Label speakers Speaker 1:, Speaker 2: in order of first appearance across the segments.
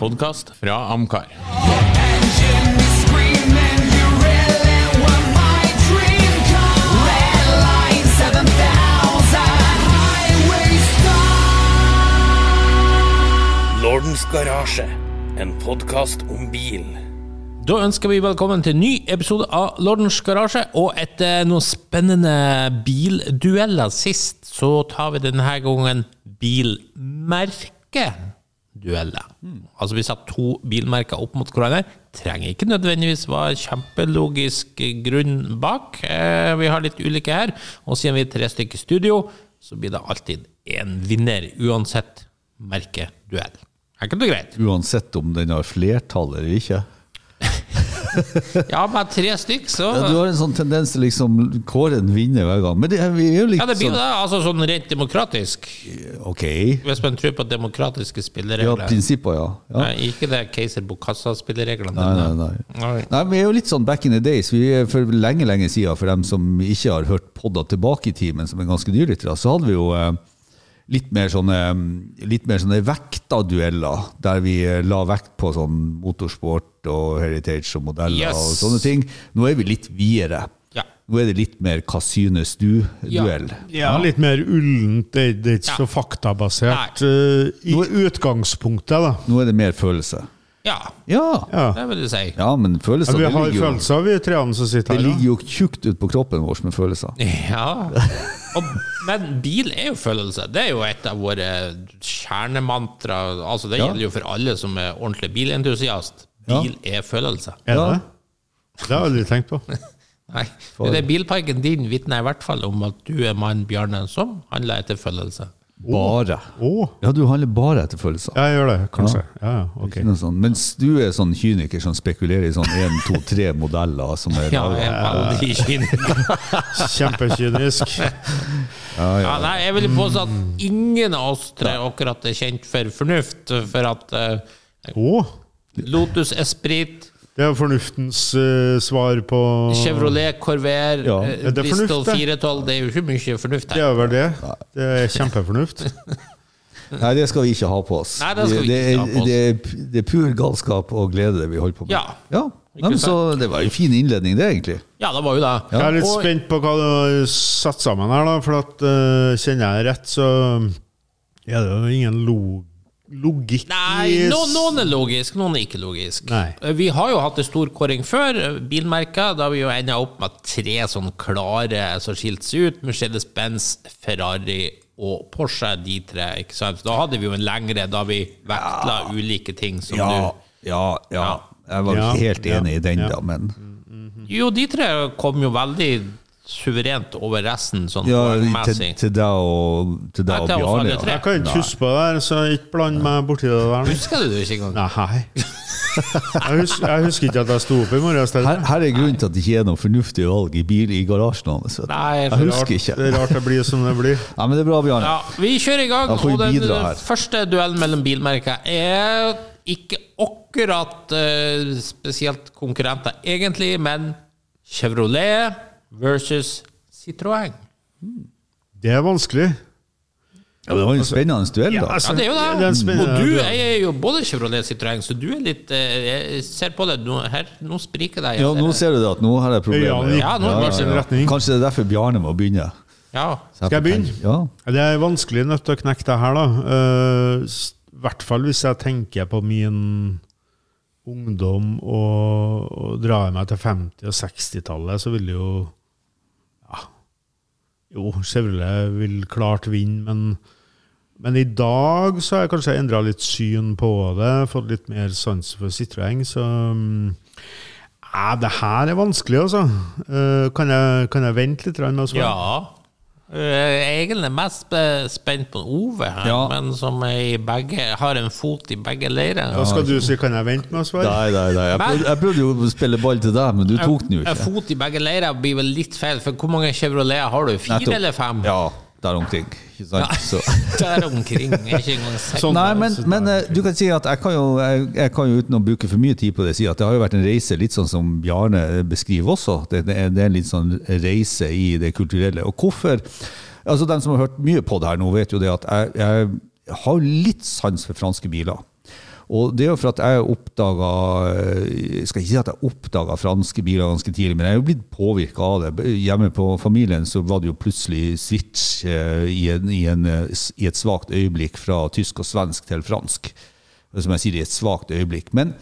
Speaker 1: Podkast fra Amcar.
Speaker 2: Lordens Garasje, en podkast om bil.
Speaker 1: Da ønsker vi velkommen til en ny episode av Lordens garasje. Og etter noen spennende bildueller sist, så tar vi denne gangen bilmerkedueller.
Speaker 3: Hmm.
Speaker 1: Altså vi satte to bilmerker opp mot hverandre. Trenger ikke nødvendigvis være kjempelogisk grunn bak. Eh, Vi har litt ulike her. Og siden vi er tre stykker i studio, så blir det alltid én vinner, uansett merkeduell. Enkelt og greit.
Speaker 3: Uansett om den har flertall eller ikke.
Speaker 1: Ja, bare tre stykk, så
Speaker 3: Ja, du har en sånn tendens til liksom kåre en vinner hver gang. Men det er, vi er jo litt
Speaker 1: Ja, det blir jo
Speaker 3: sånn
Speaker 1: det. Altså sånn rent demokratisk.
Speaker 3: Ok.
Speaker 1: Hvis man tror på demokratiske
Speaker 3: Ja,
Speaker 1: spilleregler.
Speaker 3: prinsipper, ja. ja.
Speaker 1: Nei, ikke det Keiser Bokassa-spillereglene.
Speaker 3: Nei, nei, nei. nei, vi er jo litt sånn back in the days. Vi er for lenge, lenge siden, for dem som ikke har hørt podda tilbake i tid, men som er ganske nylyttere, så hadde vi jo eh, litt mer sånne, eh, litt mer sånne vekta-dueller, der vi eh, la vekt på sånn motorsport og heritage og modeller
Speaker 1: Yes.
Speaker 3: og sånne ting. Nå er vi litt videre.
Speaker 1: Ja.
Speaker 3: Nå er det litt mer 'hva synes du?'-duell.
Speaker 4: Ja, litt mer ullent. Det, det er ikke
Speaker 1: Ja.
Speaker 4: så faktabasert. eh, I utgangspunktet, da.
Speaker 3: Nå er det mer følelse.
Speaker 1: Ja,
Speaker 3: Ja, ja.
Speaker 4: Ja.
Speaker 1: det vil jeg si.
Speaker 3: men
Speaker 4: Ja,
Speaker 3: følelser
Speaker 4: vi
Speaker 3: det
Speaker 4: har
Speaker 3: ligger, jo,
Speaker 4: følelser, vi treene som sitter
Speaker 3: det
Speaker 4: her.
Speaker 3: ligger jo tjukt ut på kroppen vår med følelser.
Speaker 1: Ja. Og, men bil er jo følelse. Det er jo et av våre kjernemantra. Altså, det
Speaker 3: Ja.
Speaker 1: gjelder jo for alle som er ordentlig bilentusiast. Bil er følelse.
Speaker 4: Da. Er
Speaker 3: Ja.
Speaker 4: det? det har jeg aldri tenkt på.
Speaker 1: Nei, men det er bilparken din vitner i hvert fall om at du er mannen Bjarne som handler etter følelse.
Speaker 3: Bare.
Speaker 4: Å!
Speaker 3: Ja, du handler bare etter følelser.
Speaker 4: Ja, jeg gjør det, kanskje. Ja, ja, ok.
Speaker 3: Ikke noe sånn. Mens du er sånn kyniker som spekulerer i sånn 1, 2, 3 modeller som er
Speaker 1: Ja, jeg er veldig kynisk.
Speaker 4: Kjempekynisk.
Speaker 1: Ja, nei, jeg vil påstå at ingen av oss tre akkurat er kjent for fornuft, for at eh,
Speaker 4: Å!
Speaker 1: Lotus Esprit,
Speaker 4: Det er jo fornuftens eh, svar på
Speaker 1: Chevrolet Corvair,
Speaker 3: Ja,
Speaker 1: eh,
Speaker 4: er det
Speaker 1: Bristol
Speaker 4: fornuft, det?
Speaker 1: 412 Det er jo ikke mye fornuft
Speaker 4: Det
Speaker 1: her.
Speaker 4: er vel det. Det er kjempefornuft.
Speaker 3: Nei, det skal vi ikke ha på oss.
Speaker 1: Nei, det skal vi ikke ha på oss.
Speaker 3: Det er, det er, det er pur galskap og glede det vi holder på med.
Speaker 1: Ja.
Speaker 3: Nei, men så, det var en fin innledning, det, egentlig.
Speaker 1: Ja, det var jo det.
Speaker 4: Jeg er litt
Speaker 1: Og-
Speaker 4: spent på hva du har satt sammen her, da. For at, eh, kjenner jeg rett, så er det jo ingen lo logikk
Speaker 1: Nei,
Speaker 4: i
Speaker 1: no, noen er logisk, noen er ikke logisk.
Speaker 4: Nei.
Speaker 1: Eh, Vi har jo hatt en stor kåring før, eh, bilmerker. Da har vi jo enda opp med tre sånn klare som skilte seg ut. Mercedes-Benz, Ferrari og Porsche, de tre. ikke sant? Da hadde vi jo en lengre da vi vektla ulike ting som
Speaker 3: Ja, ja, ja. Jeg var
Speaker 4: Ja,
Speaker 3: helt
Speaker 4: ja,
Speaker 3: enig i den,
Speaker 4: ja.
Speaker 3: da, men
Speaker 1: du Jo, de tre kom jo veldig suverent over resten, sånn
Speaker 3: ja, til,
Speaker 1: poengmessig.
Speaker 3: til deg og, til
Speaker 1: Nei,
Speaker 3: deg og
Speaker 1: til oss alle
Speaker 3: Bjarne.
Speaker 1: tre.
Speaker 3: ja.
Speaker 4: Jeg kan ikke huske på det der, så ikke bland meg borti det der. nå.
Speaker 1: Husker du det ikke engang?
Speaker 4: Nei. Jeg husker, jeg husker ikke at jeg sto opp i morges. Det
Speaker 3: Her, her er grunnen til at det ikke er noe fornuftig valg i bil i garasjen hans. vet du.
Speaker 1: Nei,
Speaker 3: jeg
Speaker 4: er rart-
Speaker 3: husker ikke.
Speaker 4: det er rart det blir som det blir.
Speaker 3: Nei, men det er bra, Bjarne.
Speaker 1: Ja, vi kjører i gang.
Speaker 3: Da får vi
Speaker 1: Og den
Speaker 3: bidra her.
Speaker 1: første duellen mellom bilmerker er ikke akkurat eh, spesielt konkurrenter, egentlig, men Chevrolet versus Citroën.
Speaker 4: Det er vanskelig.
Speaker 3: Ja, det var en spennende duell, da.
Speaker 4: altså,
Speaker 1: Ja, det er jo det.
Speaker 4: en spennende
Speaker 1: og du
Speaker 4: duell.
Speaker 1: eier jo både Chevrolet og Citroën, så du er litt eh, Jeg ser på det nå, her, nå spriker det.
Speaker 3: Ja, nå ser du det at nå har jeg
Speaker 4: Øynene
Speaker 3: problemer.
Speaker 4: gikk
Speaker 1: Ja, nå
Speaker 4: i
Speaker 1: går
Speaker 4: hver sin retning.
Speaker 3: Kanskje det er derfor Bjarne må begynne.
Speaker 1: Ja.
Speaker 3: Så
Speaker 4: Skal jeg
Speaker 3: får tenke- Ja.
Speaker 4: Det er vanskelig nødt til å knekke det her, da. Eh, s- I hvert fall hvis jeg tenker på min ungdom og, og drar meg til 50- og 60-tallet, så vil jo Ja. Jo, Chevrolet vil klart vinne, men men i dag så har jeg kanskje endra litt syn på det, fått litt mer sans for Citroën, så mm, ja, det her er vanskelig, altså. Eh, kan, jeg, kan jeg vente litt grann med å svare?
Speaker 1: ja. Eh, Jeg er egentlig mest spe- spent på Ove her,
Speaker 3: Ja.
Speaker 1: men som er i begge, har en fot i begge leirer.
Speaker 4: Da skal du si 'kan jeg vente med å svare'?
Speaker 3: Nei, nei, nei. Jeg prøvde, jeg prøvde jo å spille ball til deg, men du tok den jo
Speaker 1: En
Speaker 3: ikke.
Speaker 1: fot i begge leirer blir vel litt feil, for hvor mange Chevroleter har du? Fire
Speaker 3: Nettopp.
Speaker 1: eller fem?
Speaker 3: Ja, der omkring. Ikke sant? Så.
Speaker 1: Der omkring. Ikke engang seks.
Speaker 4: Sånn.
Speaker 3: Nei, men, men eh, du kan si at jeg kan, jo, jeg, jeg kan jo uten å bruke for mye tid på det si at det har jo vært en reise, litt sånn som Bjarne beskriver også. Det, det, er, det er en litt sånn reise i det kulturelle. Og hvorfor altså De som har hørt mye på det her nå, vet jo det at jeg, jeg har litt sans for franske biler. Og det er jo for at jeg oppdaga Jeg skal ikke si at jeg oppdaga franske biler ganske tidlig, men jeg er jo blitt påvirka av det. Hjemme på familien så var det jo plutselig switch eh, i, en, i, en, eh, s- i et svakt øyeblikk fra tysk og svensk til fransk. Som jeg sier, i et svakt øyeblikk. Men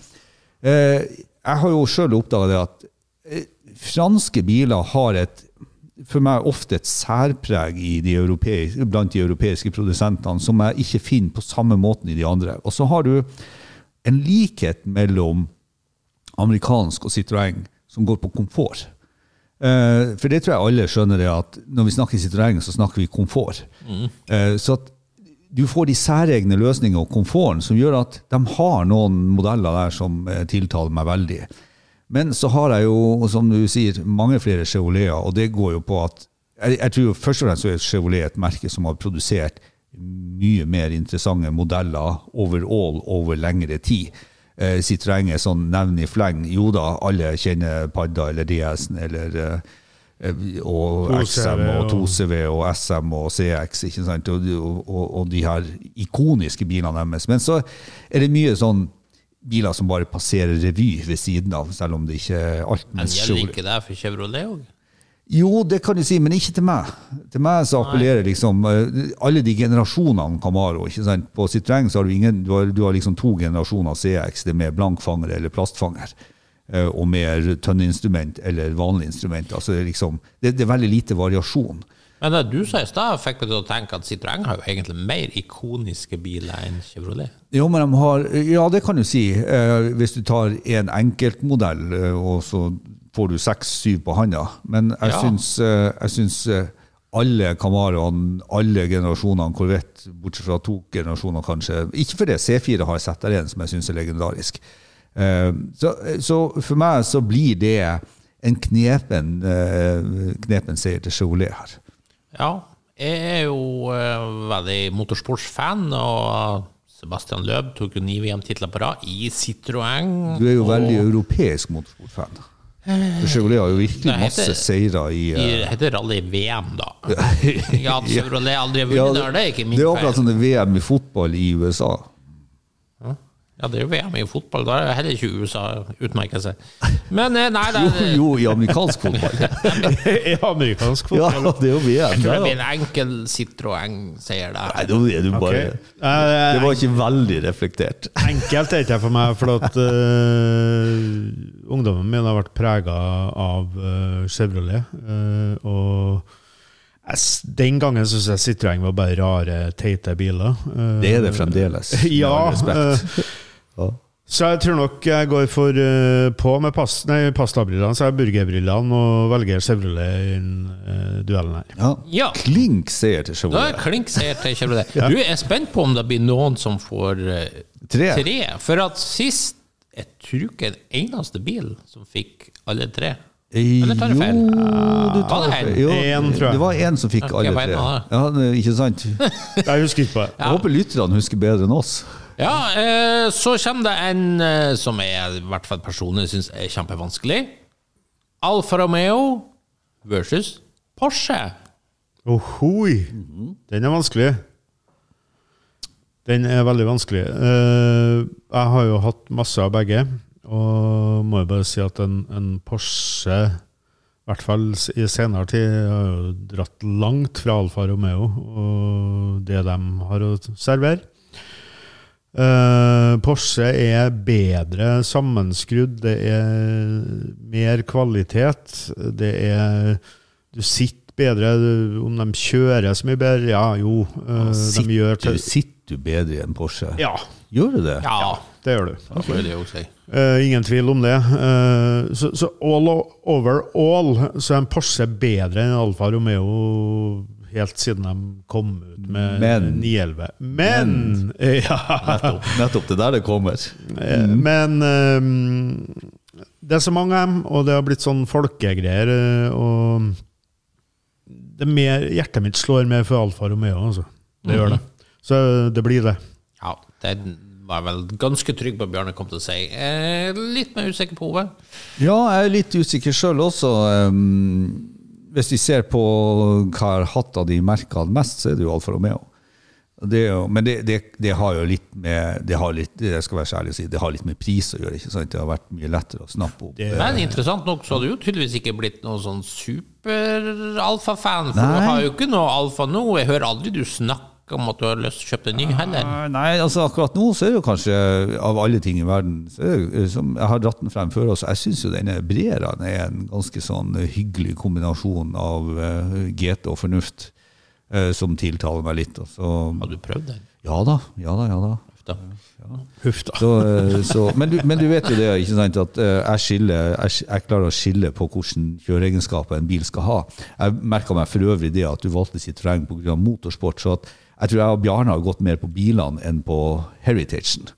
Speaker 3: eh, jeg har jo sjøl oppdaga det at eh, franske biler har et for meg ofte et særpreg i de europei- blant de europeiske produsentene som jeg ikke finner på samme måten i de andre. Og så har du en likhet mellom amerikansk og Citroën som går på komfort. Eh, for det tror jeg alle skjønner, det at når vi snakker Citroën, så snakker vi komfort. Eh, så at du får de særegne løsningene og komforten som gjør at de har noen modeller der som eh, tiltaler meg veldig. Men så har jeg jo, og som du sier, mange flere Chevroleter, og det går jo på at jeg, jeg tror jo først og fremst så er Chevrolet et merke som har produsert mye mer interessante modeller overall over lengre tid. Eh, Citroën er sånn nevn i fleng. Jo da, alle kjenner Padda eller DS-en eller eh, eh, og
Speaker 4: 2CV
Speaker 3: XM og
Speaker 4: og-
Speaker 3: 2CV og SM og CX, ikke sant? Og, og, og de her ikoniske bilene deres. Men så er det mye sånn biler som bare passerer revy ved siden av, selv om det ikke er alt
Speaker 1: Men
Speaker 3: med
Speaker 1: gjelder
Speaker 3: Chevrolet.
Speaker 1: ikke det for Chevrolet òg?
Speaker 3: Jo, det kan du si, men ikke til meg. Til meg så appellerer liksom eh, alle de generasjonene Camaro. ikke sant? På Citroën så har du ingen, du har, du har liksom to generasjoner CX, det med blankfanger eller plastfanger. eh, Og med tønneinstrument eller vanlig instrument. Altså det, er liksom, det, det er veldig lite variasjon.
Speaker 1: Men det du sa i stad, fikk meg til å tenke at Citroën har jo egentlig mer ikoniske biler enn Chevrolet.
Speaker 3: Jo, men de har, ja, det kan du si. Eh, hvis du tar en enkeltmodell, eh, og så får du seks-syv på handa. Men jeg
Speaker 1: Ja.
Speaker 3: syns, eh, jeg syns eh, alle Camaroene, alle generasjonene Corvette, bortsett fra to generasjoner kanskje Ikke fordi C4 har jeg sett der en som jeg syns er legendarisk. Eh, så, så for meg så blir det en knepen, eh, knepen seier til Chevrolet her.
Speaker 1: Ja, jeg er jo eh, veldig motorsportsfan, og Sebastian Løb tok jo ni VM-titler på rad i Citroën.
Speaker 3: Du er jo veldig europeisk motorsportfan. For Chevrolet har jo virkelig
Speaker 1: Eh, Nei, heter-
Speaker 3: masse seire i
Speaker 1: I,
Speaker 3: eh,
Speaker 1: det heter rally-VM, da. Ja, at Chevrolet aldri har vunnet, det er det ikke min
Speaker 3: det er
Speaker 1: feil.
Speaker 3: akkurat som det er VM i fotball i USA.
Speaker 1: Ja, det er jo VM i fotball, da er heller ikke USA utmerket seg. Men eh, nei, det
Speaker 3: Jo,
Speaker 1: er
Speaker 3: jo i amerikansk fotball.
Speaker 4: I amerikansk
Speaker 3: Ja,
Speaker 4: fotball.
Speaker 3: det er jo VM.
Speaker 1: Jeg tror det
Speaker 3: Der,
Speaker 1: blir
Speaker 3: ja.
Speaker 1: en enkel Citroën, sier
Speaker 3: Nei,
Speaker 1: det.
Speaker 3: da er du
Speaker 4: Ok.
Speaker 3: bare
Speaker 4: Eh,
Speaker 3: Det var ikke veldig reflektert.
Speaker 4: Enkelt er ikke jeg for meg, for at eh, ungdommen min har vært prega av eh, Chevrolet. eh, og jeg, s- den gangen syns jeg Citroën var bare rare, teite biler. eh.
Speaker 3: Det er det fremdeles. med all
Speaker 4: Ja.
Speaker 3: respekt.
Speaker 4: eh, så jeg tror nok jeg går for eh, på med pas, nei, pastabrillene, så jeg har burgerbrillene og velger Chevrolet i den eh, duellen her.
Speaker 3: Ja.
Speaker 1: Ja.
Speaker 3: Klink seier
Speaker 1: Da
Speaker 3: til
Speaker 1: er
Speaker 3: Chevrolet.
Speaker 1: klink seier til Chevrolet. Du jeg er spent på om det blir noen som får eh,
Speaker 3: Tre.
Speaker 1: tre. For at sist Jeg tror ikke en eneste bil som fikk alle tre. Eller tar jeg feil? Ah,
Speaker 3: Jo, du
Speaker 1: Var
Speaker 3: tar
Speaker 1: det
Speaker 3: feil.
Speaker 1: en?
Speaker 3: Jo,
Speaker 4: En, tror jeg.
Speaker 3: det var én som fikk
Speaker 1: Ja,
Speaker 3: alle
Speaker 1: jeg vet
Speaker 3: tre.
Speaker 1: nå det.
Speaker 3: Ja, det- ikke sant? Jeg
Speaker 4: Jeg husker ikke på det.
Speaker 3: håper lytterne husker bedre enn oss.
Speaker 1: Ja, eh, så kommer det en eh, som jeg i hvert fall personlig syns er kjempevanskelig. Alfa Romeo versus Porsche.
Speaker 4: Ohoi! Den er vanskelig. Den er veldig vanskelig. Eh, jeg har jo hatt masse av begge, og må jo bare si at en, en Porsche, i hvert fall s- i senere tid, har jo dratt langt fra Alfa Romeo og det de har å servere. Eh, Porsche er bedre sammenskrudd, det er mer kvalitet. Det er Du sitter bedre, du- om de kjører så mye bedre Ja, jo. eh, de
Speaker 3: Sitter,
Speaker 4: gjør til,
Speaker 3: sitter du bedre i en Porsche?
Speaker 4: Ja,
Speaker 3: Gjør du det?
Speaker 1: Ja,
Speaker 4: det gjør du.
Speaker 1: det vil jeg jo si.
Speaker 4: Eh, ingen tvil om det. Eh, så, så all o- overall så er en Porsche bedre enn Alfa Romeo helt siden de kom ut med
Speaker 3: Men-
Speaker 4: 911. Men! Ja.
Speaker 3: Nettopp det der det kommer.
Speaker 4: Eh, Men eh, det er så mange av dem, og det har blitt sånn folkegreier. eh, Og det er mer, hjertet mitt slår mer for Alfa Romeo, altså. Det gjør det. Så det blir det.
Speaker 1: Ja, den var jeg vel ganske trygg på at Bjarne kom til å si. Eh, litt mer usikker på Ove.
Speaker 3: Ja, jeg er litt usikker sjøl også. Ehm, hvis vi ser på hva jeg har hatt av de merkene mest, så er det jo Alfa Romeo. Det, er jo- men det, det, det har jo litt med det har litt, det skal være så ærlig å si, det har litt med pris å gjøre. ikke sant? Det har vært mye lettere å snappe opp. eh,
Speaker 1: Men interessant nok så har du jo tydeligvis ikke blitt noen sånn super-alfa-fan, for
Speaker 3: Nei.
Speaker 1: du har jo ikke noe alfa nå. Jeg hører aldri du snakke om at du har lyst til å kjøpe en ny heller.
Speaker 3: Nei, Nei, altså akkurat nå så er det jo kanskje av alle ting i verden så er det, jo, som Jeg har dratt den frem før også. Jeg syns jo denne Breraen er en ganske sånn hyggelig kombinasjon av eh, GT og fornuft eh, som tiltaler meg litt. Og så,
Speaker 1: Har du prøvd den?
Speaker 3: ja da, ja da, ja da.
Speaker 1: Da.
Speaker 4: Huff, da.
Speaker 3: Så, eh, så, men, du, men du vet jo det, ikke sant, at eh, jeg, skiller, jeg, sk- jeg klarer å skille på hvilke kjøreegenskaper en bil skal ha. Jeg merka meg for øvrig det at du valgte Citroën pga. motorsport, så at jeg tror jeg og Bjarne har gått mer på bilene enn på heritagen.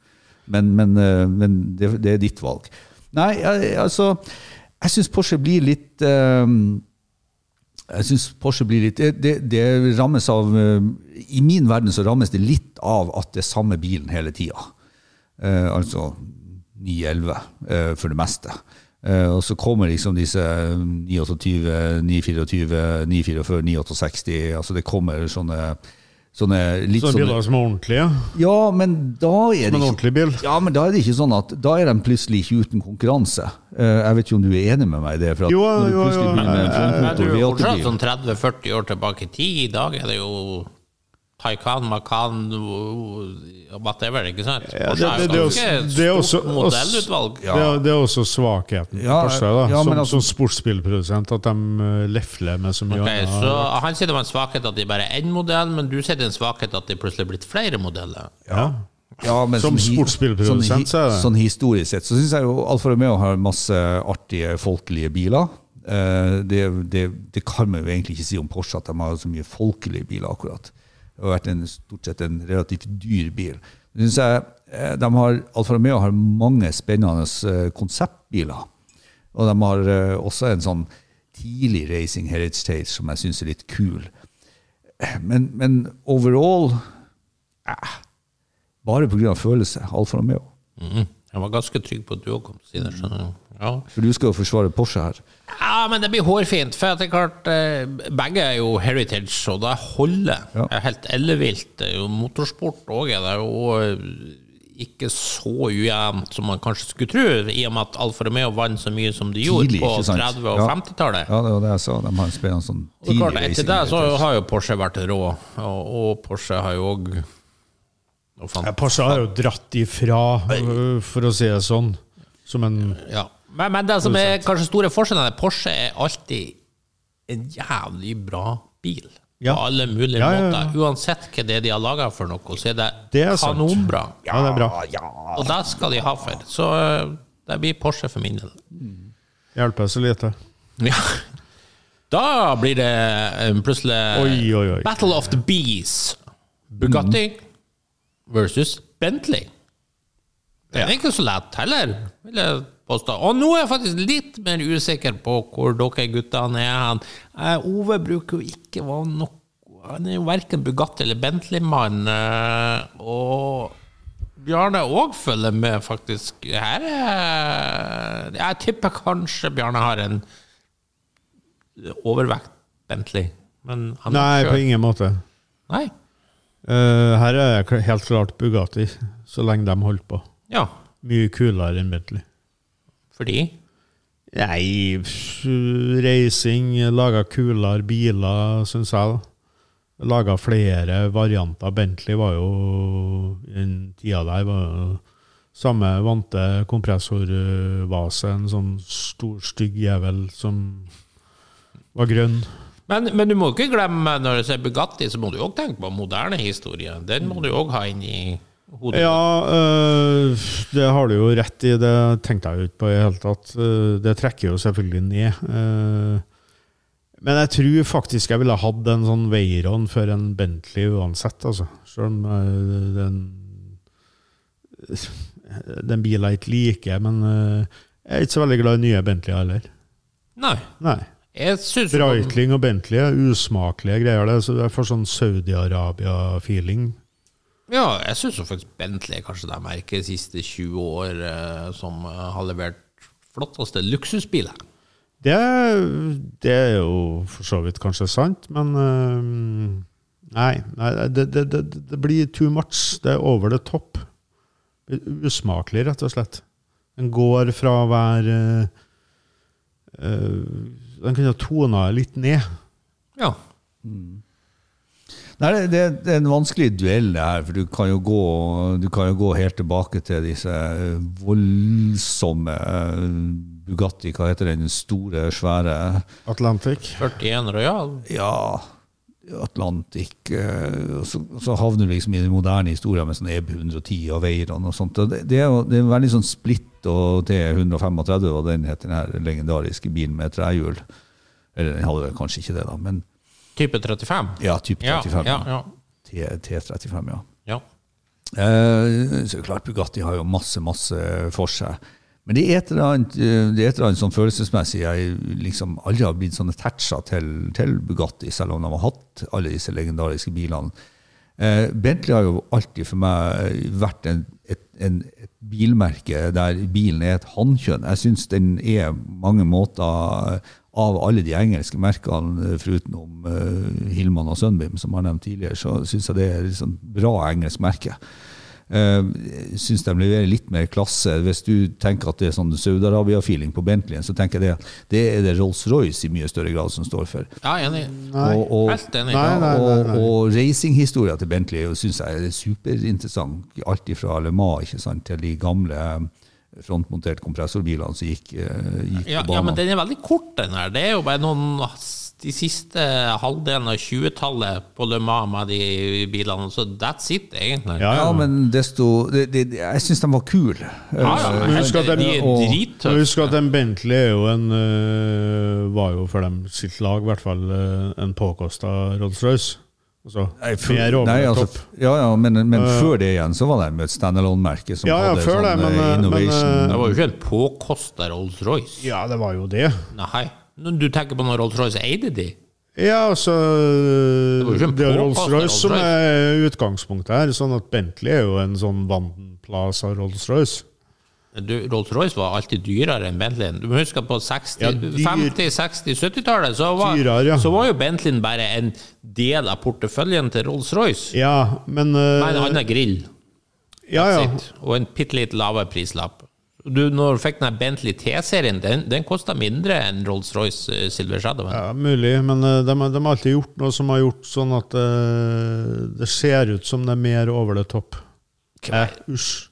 Speaker 3: Men, men, eh, men det, det er ditt valg. Nei, jeg, altså Jeg syns Porsche blir litt eh, jeg synes Porsche blir litt det, det, det rammes av eh, I min verden så rammes det litt av at det er samme bilen hele tida. Eh, altså 911 eh, for det meste. Eh, og så kommer liksom disse 928, 924, 944, 968 altså Det kommer sånne, sånne litt
Speaker 4: Sånne
Speaker 3: sånne
Speaker 4: biler som er ordentlige.
Speaker 3: Ja, men da er det
Speaker 4: Som en
Speaker 3: ikke
Speaker 4: ordentlig bil.
Speaker 3: Ja, men da er det ikke sånn at da er de plutselig ikke uten konkurranse. Eh, jeg vet ikke om du er enig med meg i det? For at
Speaker 4: Jo,
Speaker 3: når du
Speaker 4: jo,
Speaker 3: plutselig
Speaker 4: jo.
Speaker 3: begynner med
Speaker 1: Men du er jo
Speaker 3: en frontmotor V8-bil-
Speaker 1: fortsatt sånn 30-40 år tilbake i tid. I dag er det jo Taycan, Macan, whatever, ikke sant?
Speaker 4: Ja,
Speaker 1: Porsche
Speaker 4: det- det- det er
Speaker 1: jo
Speaker 4: også-
Speaker 1: ganske
Speaker 4: det er også-
Speaker 1: stort modellutvalg.
Speaker 4: Det, er- det er også svakheten
Speaker 3: Ja,
Speaker 4: for seg, da.
Speaker 3: ja, men
Speaker 4: som,
Speaker 3: altså-
Speaker 4: som sportsbilprodusent, at de eh, lefler med så mye
Speaker 1: Ok,
Speaker 4: annet.
Speaker 1: så Han sier det var en svakhet at de bare er én modell, men du sier det er en svakhet at de plutselig er blitt flere modeller.
Speaker 4: Ja.
Speaker 3: Ja, men
Speaker 4: Som
Speaker 3: sånn hi-
Speaker 4: sportsbilprodusent,
Speaker 3: sånn hi-
Speaker 4: så er det.
Speaker 3: Sånn historisk sett, så syns jeg jo Alfa Romeo har masse artige, folkelige biler. Eh, det, det, det kan man jo egentlig ikke si om Porsche, at de har så mye folkelige biler, akkurat. Det har vært en, stort sett en relativt dyr bil. Det synes jeg eh, de har, Alfa Romeo har mange spennende eh, konseptbiler. Og de har eh, også en sånn tidlig Racing Heritage som jeg syns er litt kul. Men, men overall bare pga. følelse. Alfa Romeo.
Speaker 1: Mhm. Jeg var ganske trygg på at du òg kom til å si det. skjønner du? Ja.
Speaker 3: For du skal jo forsvare Porsche her.
Speaker 1: Ja, men det blir hårfint. For at det er klart, eh, begge er jo heritage, og det holder.
Speaker 3: Ja.
Speaker 1: Det er helt ellevilt. Det er jo motorsport òg. Det er jo eh, ikke så ujevnt som man kanskje skulle tro, i og med at Alfa Romeo vant så mye som de gjorde
Speaker 3: Tidlig,
Speaker 1: på
Speaker 3: ikke sant?
Speaker 1: 30- og
Speaker 3: Ja.
Speaker 1: 50-tallet.
Speaker 3: Ja, det var det jeg sa. De har en spennende sånn
Speaker 1: Og det er
Speaker 3: tidlig
Speaker 1: klart, etter det så har jo Porsche vært rå, og, og Porsche har jo òg
Speaker 4: Ja, Porsche har jo dratt ifra, eh, for å si det sånn. Som en
Speaker 1: Ja. Men, men det som er kanskje store forskjellen, er at Porsche er alltid en jævlig bra bil.
Speaker 4: Ja.
Speaker 1: På alle mulige
Speaker 4: Ja, ja, ja.
Speaker 1: måter. Uansett hva det er de har laga for noe, så er det,
Speaker 4: Det er sant.
Speaker 1: kanonbra.
Speaker 4: Ja, det er bra.
Speaker 1: Og det skal de ha for. Så eh, det blir Porsche for min del.
Speaker 4: Hjelper så lite.
Speaker 1: Ja. Da blir det eh, plutselig
Speaker 4: Oi, oi, Mm. oi.
Speaker 1: Battle of the Bees. Bugatti versus Bentley. Den er ikke så lett heller, vil jeg påstå. Og nå er jeg faktisk litt mer usikker på hvor dere guttene er hen. Eh, Ove bruker jo ikke å være nok Han er jo verken Bugatti eller Bentley-mann. eh, Og Bjarne òg følger med, faktisk. Her er Jeg tipper kanskje Bjarne har en overvekt Bentley. Men han er
Speaker 4: Nei,
Speaker 1: ikke
Speaker 4: på
Speaker 1: selv.
Speaker 4: ingen måte.
Speaker 1: Nei.
Speaker 4: Eh, her er jeg kl- helt klart Bugatti, så lenge de holdt på.
Speaker 1: Ja,
Speaker 4: Mye kulere enn Bentley.
Speaker 1: fordi
Speaker 4: Nei, pff, racing, laga kulere biler, syns jeg. da. Laga flere varianter. Bentley var jo i den tida der var jo samme vante kompressorvase, en sånn stor, stygg jævel som var grønn.
Speaker 1: Men, men du må ikke glemme, når du ser Bugatti, så må du òg tenke på moderne historie. Den må du òg ha inn i hodet.
Speaker 4: Ja, øh, det har du jo rett i. Det tenkte jeg jo ikke på i det hele tatt. Øh, Det trekker jo selvfølgelig ned. øh. Men jeg tror faktisk jeg ville hatt en sånn Veyron før en Bentley uansett, altså. Selv om øh, den Den bilen jeg ikke liker, men øh, jeg er ikke så veldig glad i nye Bentley heller.
Speaker 1: Nei.
Speaker 4: Nei.
Speaker 1: Jeg syns
Speaker 4: Breitling og Bentley er usmakelige greier, det. Så jeg får sånn Saudi-Arabia-feeling.
Speaker 1: ja, jeg synes jo faktisk Bentley er kanskje det merket de siste 20 år eh, som eh, har levert flotteste luksusbiler.
Speaker 4: Det, det er jo for så vidt kanskje sant, men øhm, eh, Nei, nei det, det, det, det blir too much. Det er over the top. Usmakelig, rett og slett. Den går fra å være eh, eh, Den kunne ha tona litt ned.
Speaker 1: Ja.
Speaker 3: Nei, det, det, det er en vanskelig duell, det her. For du kan jo gå, du kan jo gå helt tilbake til disse eh, voldsomme eh, Bugatti, hva heter den store, svære
Speaker 4: Atlantic.
Speaker 1: 41 Royal.
Speaker 3: Ja, Atlantic. eh, Og så, og så havner du liksom i den moderne historien med sånn EB 110 og Veyron og sånt. Og det, det, er jo, det er en veldig sånn splitt og T135, hva den heter, den her legendariske bilen med trehjul. Eller den hadde vel kanskje ikke det, da, men
Speaker 1: Type 35.
Speaker 3: ja, type
Speaker 1: Ja,
Speaker 3: 35.
Speaker 1: ja, ja.
Speaker 3: T- T35, ja.
Speaker 1: Ja.
Speaker 3: Eh, Så er det klart, Bugatti har jo masse, masse for seg. Men det er et eller annet, eh, det er et eller annet sånn følelsesmessig jeg liksom aldri har blitt sånn attacha til, til Bugatti, selv om de har hatt alle disse legendariske bilene. Eh, Bentley har jo alltid for meg eh, vært en, et, en, et bilmerke der bilen er et hannkjønn. Jeg syns den er mange måter eh, av alle de engelske merkene, eh, foruten om eh, Hillman og Sunbeam, som jeg har nevnt tidligere, så syns jeg det er et liksom bra engelsk merke. Uh, syns de leverer litt mer klasse. Hvis du tenker at det er sånn Saudi-Arabia-feeling på Bentleyen, så tenker jeg det, det er det Rolls-Royce i mye større grad som står for.
Speaker 1: ja, enig.
Speaker 4: Nei.
Speaker 3: Og, og,
Speaker 1: Helt enig.
Speaker 4: Nei, nei, nei,
Speaker 3: og,
Speaker 4: nei.
Speaker 3: og racinghistoria til Bentley syns jeg er superinteressant. Alt fra Le Mans ikke sant, til de gamle eh, frontmonterte kompressorbilene som gikk, eh, gikk
Speaker 1: Ja,
Speaker 3: på
Speaker 1: ja, men
Speaker 3: banen.
Speaker 1: den er veldig kort, den her. Det er jo bare noen De siste halvdelen av 20-tallet på Le Mans med de bilene, så that's it, egentlig.
Speaker 4: Ja,
Speaker 3: Ja,
Speaker 4: ja.
Speaker 3: men desto det, det, Jeg syns de var kule.
Speaker 1: Ja, ja,
Speaker 4: Men husk at
Speaker 1: de, de
Speaker 4: de-
Speaker 1: er
Speaker 3: og- altså.
Speaker 4: Men
Speaker 1: drittøffe.
Speaker 4: Husk at en Bentley er jo en eh, var jo for dem sitt lag, i hvert fall eh, en påkosta Rolls-Royce. Altså,
Speaker 3: Nei, for-
Speaker 4: mer over
Speaker 3: nei,
Speaker 4: the
Speaker 3: altså,
Speaker 4: top.
Speaker 3: ja, ja, men, men før det igjen så var det med et standalone-merke som
Speaker 4: Eh. Ja, ja,
Speaker 3: hadde
Speaker 4: før
Speaker 3: sånn
Speaker 4: det, men,
Speaker 3: eh,
Speaker 4: eh, men,
Speaker 3: innovation.
Speaker 4: eh,
Speaker 1: Det var jo ikke en påkosta Rolls-Royce.
Speaker 4: Ja, det var jo det.
Speaker 1: Nei. Når du tenker på når Rolls-Royce eide de.
Speaker 4: Ja, altså
Speaker 1: Det var jo ikke en
Speaker 4: Det er
Speaker 1: påkastet
Speaker 4: Rolls-Royce som
Speaker 1: Rolls-Royce.
Speaker 4: er utgangspunktet her. Sånn at Bentley er jo en sånn Vanden Plaza Rolls-Royce.
Speaker 1: Du, Rolls-Royce var alltid dyrere enn Bentleyen. Du må huske at på 60,
Speaker 4: Ja, dyr-
Speaker 1: 50-, 60-, 70-tallet så, var-
Speaker 4: Dyrere, ja.
Speaker 1: så var jo Bentleyen bare en del av porteføljen til Rolls-Royce.
Speaker 4: Ja, men eh,
Speaker 1: Med en annen grill.
Speaker 4: ja, ja.
Speaker 1: sitt, og en bitte litt lavere prislapp. Du, når du fikk den her Bentley T-serien, den, den kosta mindre enn Rolls-Royce eh, Silver Shadow.
Speaker 4: ja, mulig. Men eh, de, har- de har alltid gjort noe som har gjort sånn at eh, det ser ut som det er mer over the top. Eh, usj.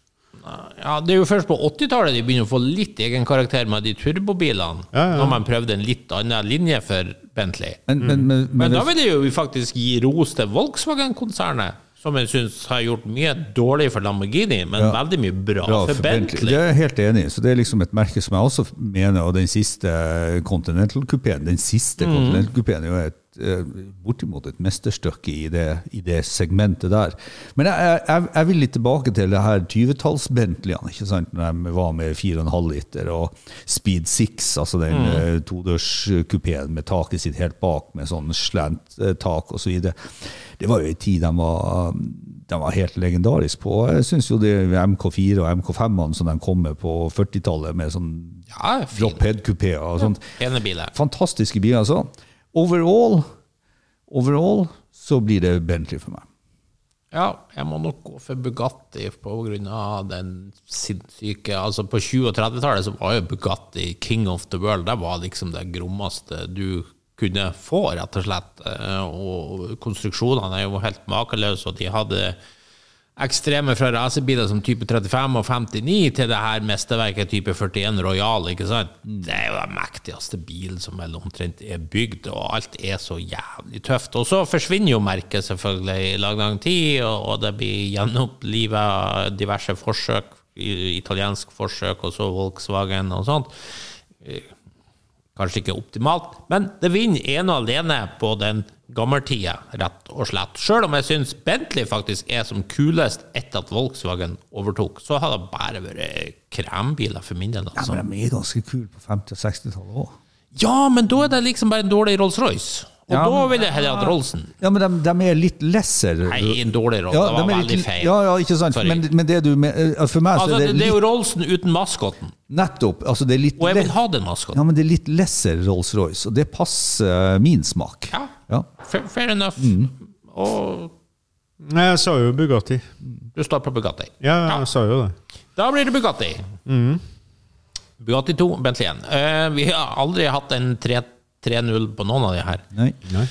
Speaker 1: Ja, det er jo først på 80-tallet de begynner å få litt egen karakter med de turbobilene,
Speaker 4: Ja, ja.
Speaker 1: når man prøvde en litt annen linje for Bentley.
Speaker 3: Men, men, men, men,
Speaker 1: Men da
Speaker 3: hvis-
Speaker 1: vil jeg jo faktisk gi ros til Volkswagen-konsernet, som jeg syns har gjort mye dårlig for Lamborghini, men veldig mye bra,
Speaker 3: bra
Speaker 1: for, Bentley.
Speaker 3: Det er jeg helt enig i. Så det er liksom et merke som jeg også mener, og den siste Continental-kupeen Den siste
Speaker 1: Mm.
Speaker 3: Continental-kupeen er jo et, eh, bortimot et mesterstykke i det, i det segmentet der. Men jeg, jeg- jeg, jeg vil litt tilbake til det her 20-talls-Bentleyene, ikke sant? Når de var med 4,5 liter og Speed 6, altså den
Speaker 1: Mm.
Speaker 3: eh, todørskupeen med taket sitt helt bak med sånn slant eh, tak og så videre Det var jo en tid de var de var helt legendariske på. Og Jeg syns jo det MK4 og MK5-ene som de kom med på 40-tallet, med sånn
Speaker 1: Ja, fin.
Speaker 3: drophead-kupeer og sånt.
Speaker 1: Enebil. her.
Speaker 3: Fantastiske biler, altså. Overall, overall så blir det Bentley for meg.
Speaker 1: Ja, jeg må nok gå for Bugatti på grunn av den sinnssyke Altså, på 20- og 30-tallet så var jo Bugatti king of the world. Det var liksom det grommeste du kunne få, rett og slett. Eh, Og konstruksjonene er jo helt makeløse, og de hadde ekstreme fra racerbiler som type 35 og 59 til det her mesterverket type 41 Royal, ikke sant? Det er jo den mektigste bilen som vel omtrent er bygd, og alt er så jævlig tøft. Og så forsvinner jo merket selvfølgelig i lang, lang tid, og, og det blir gjenopplivet diverse forsøk, i- italiensk forsøk, og så Volkswagen og sånt. Eh, Kanskje ikke optimalt, men det vinner ene og alene på den gammeltida, rett og slett. Sjøl om jeg syns Bentley faktisk er som kulest etter at Volkswagen overtok, så har det bare vært krembiler for min del.
Speaker 3: Ja,
Speaker 1: Altså.
Speaker 3: men de er ganske kule på 50- og 60-tallet òg.
Speaker 1: Ja, men da er det liksom bare en dårlig Rolls-Royce. Og
Speaker 3: Ja,
Speaker 1: da
Speaker 3: men-
Speaker 1: vil jeg heller hatt Rollsen.
Speaker 3: Ja, men de, de er litt lesser.
Speaker 1: Nei, en dårlig Rolls.
Speaker 3: Ja,
Speaker 1: det
Speaker 3: de
Speaker 1: var
Speaker 3: er
Speaker 1: veldig
Speaker 3: litt-
Speaker 1: feil.
Speaker 3: Ja, ja, ikke sant.
Speaker 1: Sorry.
Speaker 3: Men, men det du mener For meg så
Speaker 1: altså,
Speaker 3: er
Speaker 1: det,
Speaker 3: det
Speaker 1: det er
Speaker 3: litt,
Speaker 1: jo Rollsen uten maskoten,
Speaker 3: nettopp altså det er litt
Speaker 1: og jeg
Speaker 3: lett-
Speaker 1: vil ha den maskoten.
Speaker 3: Ja, men det er litt lesser Rolls-Royce, og det passer min smak.
Speaker 1: Ja.
Speaker 3: Ja. Mm.
Speaker 1: Fair, fair enough. Og
Speaker 4: Nei, jeg sa jo Bugatti.
Speaker 1: du står på Bugatti.
Speaker 4: Ja, jeg sa jo det.
Speaker 1: Da blir det Bugatti. Bugatti 2, Bentley 1. Eh, vi har aldri hatt en 3 3-0 på noen av de her.
Speaker 3: Nei.
Speaker 4: Nei.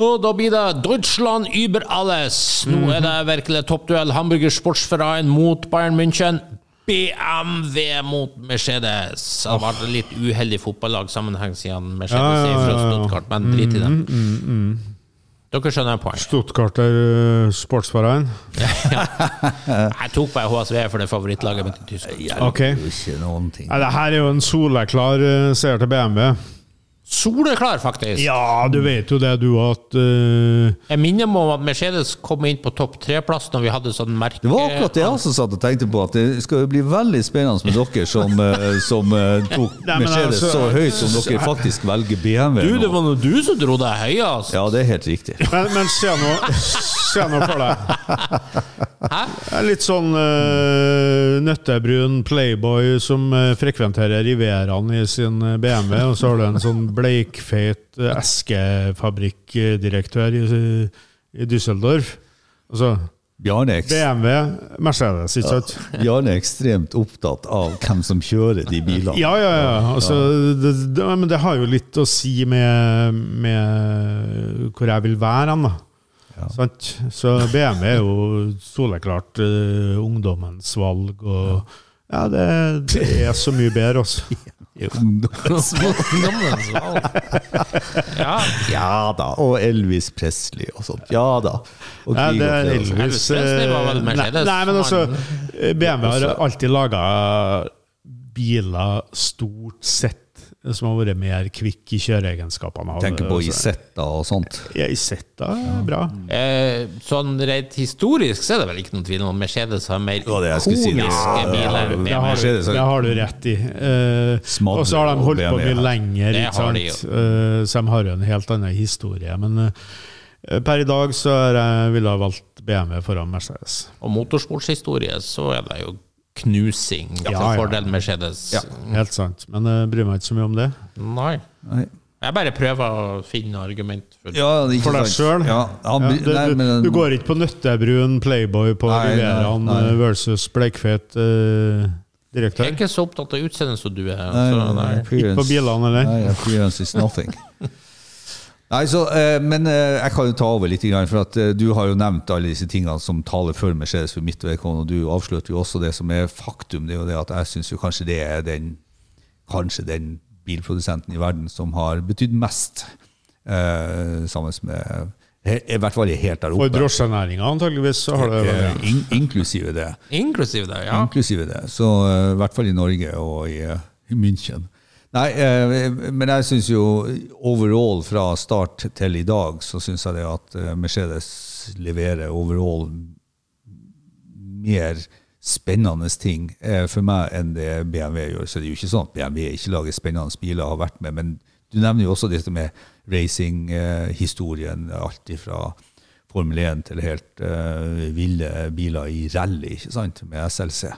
Speaker 1: Og da blir det Deutschland über alles. Nå er det virkelig toppduell. Hamburger Sportsverein mot Bayern München. BMW mot Mercedes. Det har vært litt uheldig fotballag-sammenheng siden Mercedes
Speaker 4: Ja,
Speaker 1: er
Speaker 4: ja, Mm,
Speaker 1: fra
Speaker 4: ja, ja.
Speaker 1: Stuttgart, men drit i det. Dere skjønner poeng.
Speaker 4: Stuttgarter eh, Sportsverein.
Speaker 1: Jeg tok bare HSV for det favorittlaget mitt i Tyskland.
Speaker 4: Ok.
Speaker 3: Det er jo Ikke noen ting.
Speaker 4: Nei, det her er jo en soleklar eh, seier til BMW.
Speaker 1: Soleklar, faktisk!
Speaker 4: Ja, du vet jo det, du, at eh,
Speaker 1: Jeg minner meg om at Mercedes kom inn på topp tre-plass når vi hadde sånn merke...
Speaker 3: Det var akkurat det jeg også satt og tenkte på, at det skal jo bli veldig spennende med dere som, eh, som eh, tok
Speaker 4: Nei, men
Speaker 3: Mercedes
Speaker 4: altså-
Speaker 3: så høyt som dere faktisk velger BMW.
Speaker 1: Du, det
Speaker 3: nå.
Speaker 1: var nå du som dro deg høy, altså!
Speaker 3: Ja, det er helt riktig.
Speaker 4: Men, men se nå Se nå for deg.
Speaker 1: Hæ?
Speaker 4: Jeg er Litt sånn eh, nøttebrun playboy som eh, frekventerer Rivieraen i sin eh, BMW, og så har du en sånn bleikfeit eh, eskefabrikkdirektør i, i Düsseldorf. Altså
Speaker 3: Bjarne er, ekst-
Speaker 4: BMW, Mercedes, ikke sant?
Speaker 3: Bjarne er ekstremt opptatt av hvem som kjører de bilene.
Speaker 4: Ja, ja, ja. Altså, det, det, men det har jo litt å si med, med hvor jeg vil være hen, da. Sant? Så BMW er jo soleklart eh, ungdommens valg, og ja, det, det er så mye bedre, altså.
Speaker 1: Ungdommens valg. Ja.
Speaker 3: Ja da, og Elvis Presley og sånt. Ja da. Og
Speaker 4: Ja, det er
Speaker 3: Krieg og fred og sånt.
Speaker 4: Elvis
Speaker 1: Elvis Presley var vel
Speaker 4: eh, nei,
Speaker 1: Mercedes,
Speaker 4: nei, men altså,
Speaker 1: som
Speaker 4: BMW har alltid laga biler stort sett som har vært mer kvikk i kjøreegenskapene. altså.
Speaker 3: Tenker på Isetta og sånt.
Speaker 4: Ja, Isetta er bra.
Speaker 3: Mm.
Speaker 1: Eh, sånn rent historisk så er det vel ikke noen tvil om at Mercedes har mer
Speaker 3: var det jeg skulle
Speaker 1: ikoniske
Speaker 3: si, det. Ja,
Speaker 1: biler.
Speaker 3: ja,
Speaker 1: med
Speaker 4: Det har,
Speaker 3: Mercedes
Speaker 4: du,
Speaker 3: har-
Speaker 4: det har du rett i. Eh,
Speaker 3: Smadre
Speaker 4: og så har de
Speaker 3: og
Speaker 4: holdt på
Speaker 3: BMW,
Speaker 4: mye
Speaker 3: ja.
Speaker 4: lenger,
Speaker 1: Det
Speaker 4: ikke
Speaker 1: har de
Speaker 4: sant? Eh, så de har jo en helt annen historie. Men eh, per i dag så er jeg ville ha valgt BMW foran Mercedes.
Speaker 1: Og motorsportshistorie så er det jo knusing til
Speaker 4: Ja, ja.
Speaker 1: fordel Mercedes.
Speaker 3: Mm.
Speaker 4: Helt sant. Men jeg bryr meg ikke så mye om det.
Speaker 1: Nei.
Speaker 3: Nei.
Speaker 1: Jeg bare prøver å finne argument for
Speaker 3: Ja, ikke
Speaker 4: For deg
Speaker 3: sant.
Speaker 4: sjøl.
Speaker 3: Ja, han,
Speaker 4: Ja,
Speaker 3: blir-
Speaker 4: det-
Speaker 3: nei,
Speaker 4: du,
Speaker 3: men-
Speaker 4: du går ikke på nøttebrun playboy på
Speaker 3: Nei, nei,
Speaker 4: Rivieraen
Speaker 3: nei.
Speaker 4: eh, versus bleikfet
Speaker 1: Jeg
Speaker 4: eh,
Speaker 1: er
Speaker 4: direktør?
Speaker 1: ikke så opptatt av utseendet som du er.
Speaker 3: Nei,
Speaker 1: Så, nei.
Speaker 3: appearance-
Speaker 4: Ikke på bilene, eller?
Speaker 3: Nei, appearance is nothing. Nei, så, eh, men eh, jeg kan jo ta over litt, grann, for at eh, du har jo nevnt alle disse tingene som taler for Mercedes for mitt vedkommende, og du avslørte jo også det som er faktum. Det er jo det at jeg syns kanskje det er den, kanskje den bilprodusenten i verden som har betydd mest, eh, sammen med he- I hvert fall helt der
Speaker 4: For
Speaker 3: oppe.
Speaker 4: drosjenæringa antageligvis så har det vel
Speaker 3: Eh, in, inklusive det.
Speaker 1: Inklusiv det, ja.
Speaker 3: Inklusive det. Så eh, i hvert fall i Norge og i, eh, i München. Nei, eh, men jeg syns jo overall fra start til i dag, så syns jeg det at eh, Mercedes leverer overall mer spennende ting eh, for meg enn det BMW gjør. Så det er jo ikke sånn at BMW ikke lager spennende biler, har vært med, men du nevner jo også dette med racing-historien, alt ifra Formel 1 til helt eh, ville biler i rally, ikke sant, med SLC,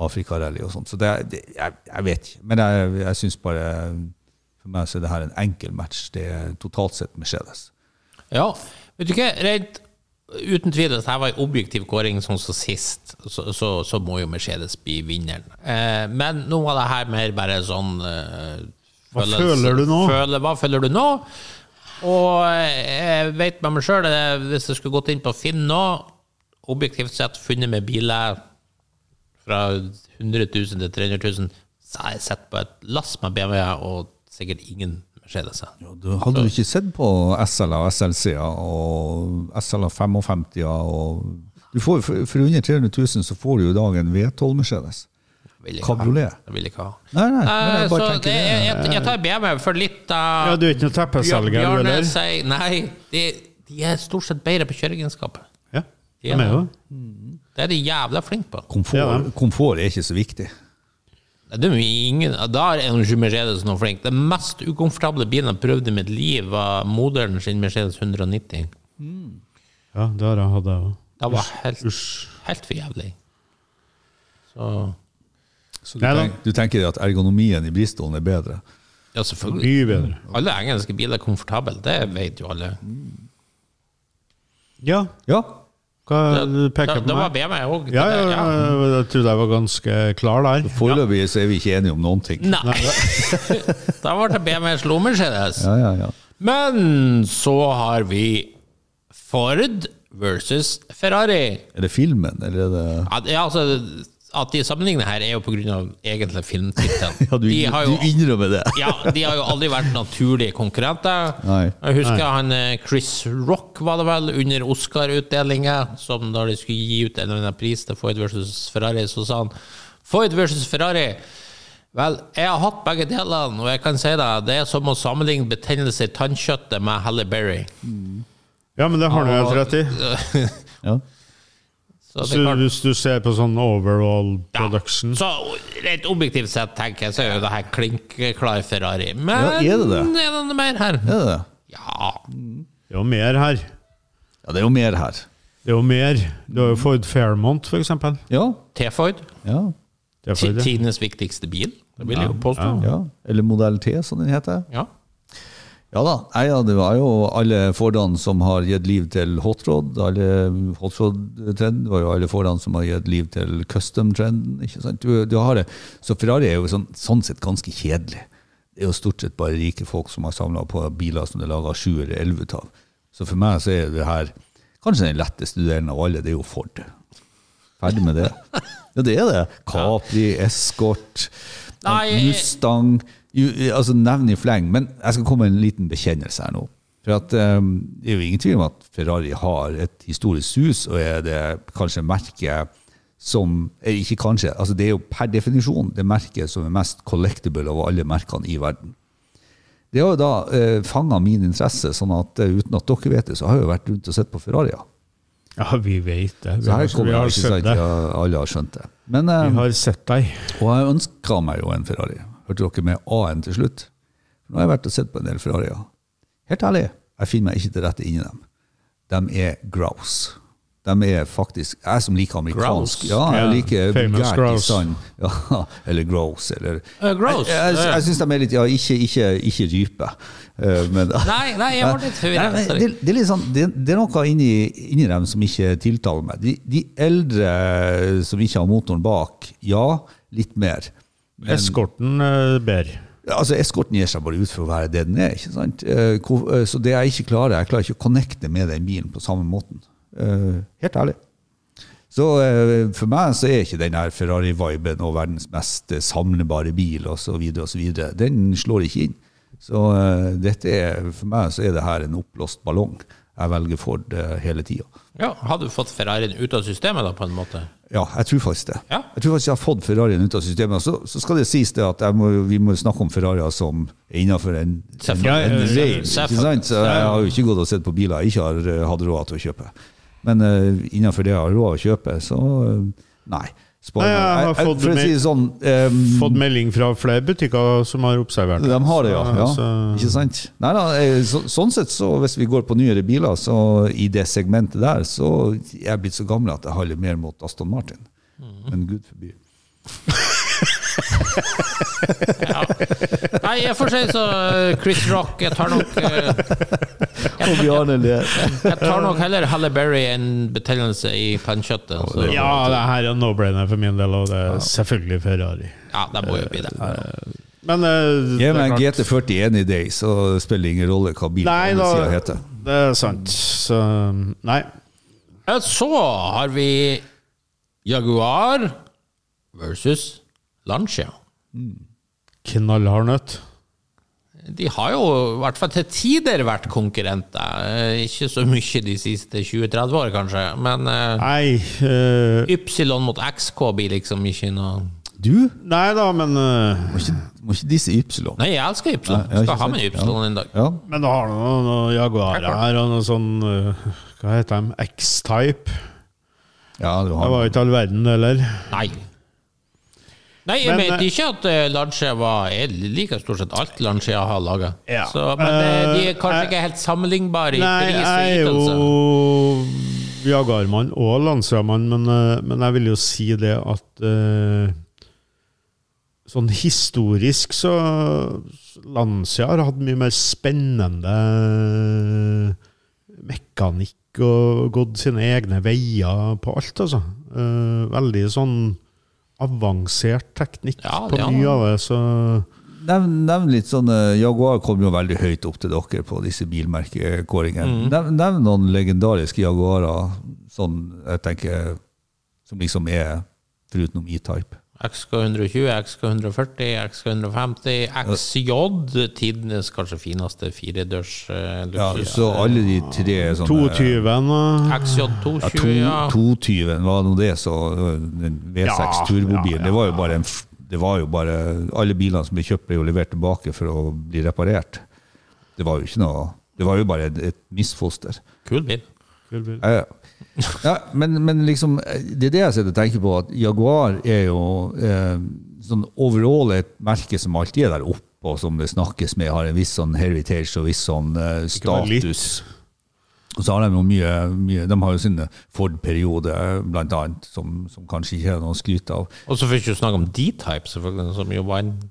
Speaker 3: Afrikarally og sånt. Så det, er- det jeg, jeg vet ikke, men jeg, jeg syns bare for meg så er det her en enkel match. Det er totalt sett Mercedes.
Speaker 1: Ja, vet du hva, rent uten tvil, dette her var en objektiv kåring sånn som sist, så, så, så må jo Mercedes bli vinneren. Eh, men nå var det her mer bare sånn eh,
Speaker 4: Hva føler du nå?
Speaker 1: Føle, hva føler du nå? Og eh, jeg vet med meg sjøl, hvis jeg skulle gått inn på Finn nå, objektivt sett funnet med biler fra 100 000 til 300 000, så har jeg sett på et lass med BMW og sikkert ingen Mercedeser.
Speaker 3: Ja, du, hadde du ikke sett på SLA og SLC-er og SLA 55-er og du får, for, for under 300 000 så får du jo i dag en V12 Mercedes.
Speaker 1: Vil jeg ikke ha.
Speaker 3: Kabriolet.
Speaker 1: Det vil jeg ikke ha.
Speaker 3: Nei, nei, men
Speaker 1: Eh,
Speaker 3: jeg
Speaker 1: så
Speaker 3: bare tenker
Speaker 1: det,
Speaker 3: det.
Speaker 1: jeg, jeg, jeg tar BMW for litt av
Speaker 4: Ja, du er ikke noen teppeselger, du
Speaker 1: Bjarne
Speaker 4: heller?
Speaker 1: sier Nei, de, de er stort sett bedre på kjøreegenskaper.
Speaker 4: Ja, de er med, jo.
Speaker 1: Det er de jævla flinke på.
Speaker 3: Komfort,
Speaker 4: Ja, ja.
Speaker 3: komfort er ikke så viktig.
Speaker 1: Det er jo ingen, der er jo ikke Mercedes noe flink. Den mest ukomfortable bilen jeg prøvde i mitt liv, var moderen sin Mercedes 190.
Speaker 4: Ja, det har jeg hatt, jeg òg.
Speaker 1: Det var helt,
Speaker 4: Usj.
Speaker 1: helt for jævlig. Så
Speaker 3: Så du,
Speaker 4: Nei da.
Speaker 3: tenk, du tenker at ergonomien i Bristolen er bedre?
Speaker 1: Ja, selvfølgelig.
Speaker 4: Mye bedre.
Speaker 1: Alle engelske biler er komfortable, det vet jo alle.
Speaker 4: Ja.
Speaker 3: Ja.
Speaker 4: Hva du
Speaker 1: Da,
Speaker 4: peker på
Speaker 1: da var E
Speaker 4: meg?
Speaker 1: BMW òg.
Speaker 4: Ja, ja, ja, jeg trodde jeg var ganske klar der.
Speaker 3: Foreløpig så er vi ikke enige om noen ting.
Speaker 1: Nei! da ble det BMW slo Mercedes.
Speaker 3: Ja, ja, ja.
Speaker 1: Men så har vi Ford versus Ferrari.
Speaker 3: Er det filmen, eller er det
Speaker 1: At, ja, altså, at de sammenligner her, er jo på grunn av egentlig filmtittelen.
Speaker 3: Ja, du,
Speaker 1: de har jo
Speaker 3: du innrømmer det.
Speaker 1: ja, de har jo aldri vært naturlige konkurrenter.
Speaker 3: Nei.
Speaker 1: Jeg husker han eh, Chris Rock, var det vel, under Oscar-utdelinga, som da de skulle gi ut en eller annen pris til Ford versus Ferrari, så sa han Ford versus Ferrari. Vel, jeg har hatt begge delene, og jeg kan si deg, det er som å sammenligne betennelse i tannkjøttet med Halle Berry.
Speaker 4: Ja, men det har du helt rett i.
Speaker 3: Ja.
Speaker 1: Så det
Speaker 4: Så
Speaker 1: er klart.
Speaker 4: hvis du ser på sånn overall
Speaker 1: Ja.
Speaker 4: production
Speaker 1: Så rett objektivt sett tenker jeg så er jo det her klinkklar Ferrari. Men
Speaker 3: Ja, er det det?
Speaker 1: er det noe mer her?
Speaker 3: Er det det?
Speaker 1: Ja.
Speaker 4: Det er jo mer her.
Speaker 3: Ja, det er jo mer her.
Speaker 4: Det er jo mer. Du har jo Ford Fairmont, for eksempel.
Speaker 3: Ja.
Speaker 1: T-Ford.
Speaker 3: ja.
Speaker 4: Det er
Speaker 1: Ti-
Speaker 4: Ford, det.
Speaker 1: Tidenes viktigste bil, Altså, det vil jeg jo påstå.
Speaker 3: Ja, eller modell T, som den heter.
Speaker 1: Ja.
Speaker 3: Ja da, Nei, ja, det var jo alle Fordene som har gitt liv til hot rod. Alle hot rod-trenden var jo alle Fordene som har gitt liv til custom-trenden. ikke sant? Du, du har det. Så Ferrari er jo sånn, sånn sett ganske kjedelig. Det er jo stort sett bare rike folk som har samla på biler som det er laga sju eller elleve av. Så for meg så er det her kanskje den letteste delen av alle, det er jo Ford. Ferdig med det. Ja, det er det. Capri, Escort,
Speaker 1: Nei,
Speaker 3: Mustang ju- altså Nevn i fleng. Men jeg skal komme med en liten bekjennelse her nå. For at, eh, Det er jo ingen tvil om at Ferrari har et historisk sus, og er det kanskje merket som eh, Ikke kanskje, altså det er jo per definisjon det merket som er mest collectible av alle merkene i verden. Det har jo da eh, fanga min interesse, sånn at eh, uten at dere vet det, så har jeg jo vært rundt og sett på Ferrarier.
Speaker 4: Ja, vi vet det. Vi
Speaker 3: Så her
Speaker 4: har,
Speaker 3: kommer
Speaker 4: vi har
Speaker 3: jeg ikke
Speaker 4: sett
Speaker 3: sant,
Speaker 4: det.
Speaker 3: ja, alle har skjønt det. Men, eh,
Speaker 4: Vi har sett deg.
Speaker 3: og jeg ønska meg jo en Ferrari. Hørte dere med A-en til slutt? Nå har jeg vært og sett på en del Ferrarier. Helt ærlig, jeg finner meg ikke til rette inni dem. De er grouse. De er faktisk Jeg som liker amerikansk
Speaker 1: Grouse?
Speaker 3: Ja, jeg
Speaker 4: Ja,
Speaker 3: liker
Speaker 4: famous
Speaker 3: vulgært i
Speaker 4: grouse.
Speaker 3: stand. Ja, eller grouse, eller
Speaker 1: Eh, grouse,
Speaker 3: Jeg, jeg, jeg syns de er litt Ja, ikke, ikke, ikke rype. eh, Men,
Speaker 1: Nei, nei, jeg ble litt forvirret,
Speaker 3: Nei, men
Speaker 1: sorry.
Speaker 3: Det, det, er litt sånn, det, det er noe inni, inni dem som ikke tiltaler meg. De, de eldre som ikke har motoren bak, ja, litt mer.
Speaker 4: Eskorten uh, ber.
Speaker 3: Altså, Eskorten gir seg bare ut for å være det den er. ikke sant? Eh, hvor- eh, Så det jeg ikke klarer, jeg klarer ikke å connecte med den bilen på samme måten. Eh, Helt ærlig. Så eh, for meg så er ikke den her Ferrari-viben og verdens mest eh, samlebare bil osv. Den slår ikke inn. Så eh, dette er, for meg så er det her en oppblåst ballong. Jeg velger Ford eh, hele tida.
Speaker 1: ja. Har du fått Ferrarien ut av systemet, da, på en måte?
Speaker 3: Ja, jeg tror faktisk det.
Speaker 1: Ja.
Speaker 3: Jeg tror faktisk jeg har fått Ferrarien ut av systemet. Og så, så skal det sies det at jeg må, jo- vi må jo snakke om Ferrarier som er innafor en, en,
Speaker 1: Selvfølgelig.
Speaker 3: en rein.
Speaker 1: Selvfølgelig.
Speaker 3: Ikke sant? Så jeg har jo ikke gått og sett på biler jeg ikke har eh, hatt råd til å kjøpe. Men uh, innafor det jeg har råd til å kjøpe, så eh, nei. Spar
Speaker 4: Nei, jeg
Speaker 3: meg.
Speaker 4: har fått
Speaker 3: for å
Speaker 4: mer-
Speaker 3: si det sånn eh,
Speaker 4: Fått melding fra flere butikker som har observert
Speaker 3: de har det, ja. ja.
Speaker 4: Så-
Speaker 3: Ikke sant? Nei, da, eh, så, sånn sett, så hvis vi går på nyere biler, så i det segmentet der, så er jeg blitt så gammel at jeg holder mer mot Aston Martin.
Speaker 1: Mm.
Speaker 3: Men gud forby.
Speaker 1: Nei, jeg får si så eh, Chris Rock Jeg tar nok eh,
Speaker 3: Og Bjarne ler.
Speaker 1: Jeg tar nok heller Halle Berry enn betennelse i tannkjøttet. Så
Speaker 4: Ja, det her er no-brainer for min del, og det er selvfølgelig Ferrari.
Speaker 1: ja, det må jo bli det.
Speaker 4: Men eh, det
Speaker 3: Gi
Speaker 4: er
Speaker 3: meg en
Speaker 4: klart-
Speaker 3: GT41 i dag, så spiller det ingen rolle hva bilen
Speaker 4: Nei,
Speaker 3: på andre
Speaker 4: da-
Speaker 3: siden heter.
Speaker 4: Det er sant. Så mm, nei.
Speaker 1: Eh, Så har vi Jaguar versus Lancia.
Speaker 4: Knallhard nøtt.
Speaker 1: De har jo i hvert fall til tider vært konkurrenter. Eh, Ikke så mye de siste 20-30 år, kanskje, men eh,
Speaker 4: Nei. eh,
Speaker 1: Y mot XK blir liksom ikke noe
Speaker 3: Du
Speaker 4: nei da, men eh,
Speaker 3: må ikke, må ikke disse Ypsilon.
Speaker 1: Nei, jeg elsker Y.
Speaker 3: Nei, jeg har
Speaker 1: Skal
Speaker 3: ikke
Speaker 1: ha med
Speaker 3: sett-
Speaker 1: Y
Speaker 3: ja.
Speaker 1: en dag.
Speaker 3: Ja.
Speaker 4: Men du har du noen, noen Jaguarer her, og noe sånn eh, Hva heter de? X-Type?
Speaker 3: ja, du
Speaker 4: Det
Speaker 3: har
Speaker 4: var jo ikke all verden, eller?
Speaker 1: Nei. Nei, jeg
Speaker 4: Men,
Speaker 1: mente
Speaker 4: eh,
Speaker 1: ikke at eh, Lancia var Jeg liker stort sett alt Lancia har laga.
Speaker 4: Ja.
Speaker 1: Men eh, de er kanskje
Speaker 4: Eh,
Speaker 1: ikke helt sammenlignbare i altså. pris og
Speaker 4: Nei, jeg er
Speaker 1: ytelse.
Speaker 4: jo Jagarmann og Lancia-mann, men, eh, men jeg vil jo si det at eh, Sånn historisk så Lancia har hatt mye mer spennende eh, mekanikk og gått sine egne veier på alt, altså. Eh, veldig sånn avansert teknikk
Speaker 1: Ja,
Speaker 4: på
Speaker 1: det er
Speaker 4: mye av det, så
Speaker 3: Nevn, nevn litt sånn eh, Jaguar kom jo veldig høyt opp til dere på disse bilmerkekåringene.
Speaker 4: Mm.
Speaker 3: Nevn, nevn noen legendariske Jaguarer sånn, jeg tenker, som liksom er foruten om E-type.
Speaker 1: XK120, XK140, XK150, XJ, tidenes kanskje fineste firedørs eh,
Speaker 3: Ja,
Speaker 1: luksus.
Speaker 3: så alle de tre sånne
Speaker 4: 22-en og
Speaker 3: ja,
Speaker 1: XJ220,
Speaker 3: to-
Speaker 1: ja.
Speaker 3: 220 var nå det, så øh, den V6
Speaker 4: Ja,
Speaker 3: turbobilen
Speaker 4: ja, ja.
Speaker 3: Det var jo bare en f- det var jo bare, Alle bilene som ble kjøpt, ble jo levert tilbake for å bli reparert. Det var jo ikke noe Det var jo bare et, et misfoster.
Speaker 1: Kul bil.
Speaker 4: Kul bil.
Speaker 3: Ja, ja. Ja, men, men liksom, det er det jeg sitter og tenker på, at Jaguar er jo eh, sånn overall et merke som alltid er der oppe, og som det snakkes med, har en viss sånn heritage og viss sånn eh,
Speaker 4: bare litt.
Speaker 3: status. Og så har de jo mye, mye De har jo sin Ford-periode, blant annet, som, som kanskje ikke er noe å skryte av.
Speaker 1: Og så får vi ikke snakke om D-type, selvfølgelig, som jo vant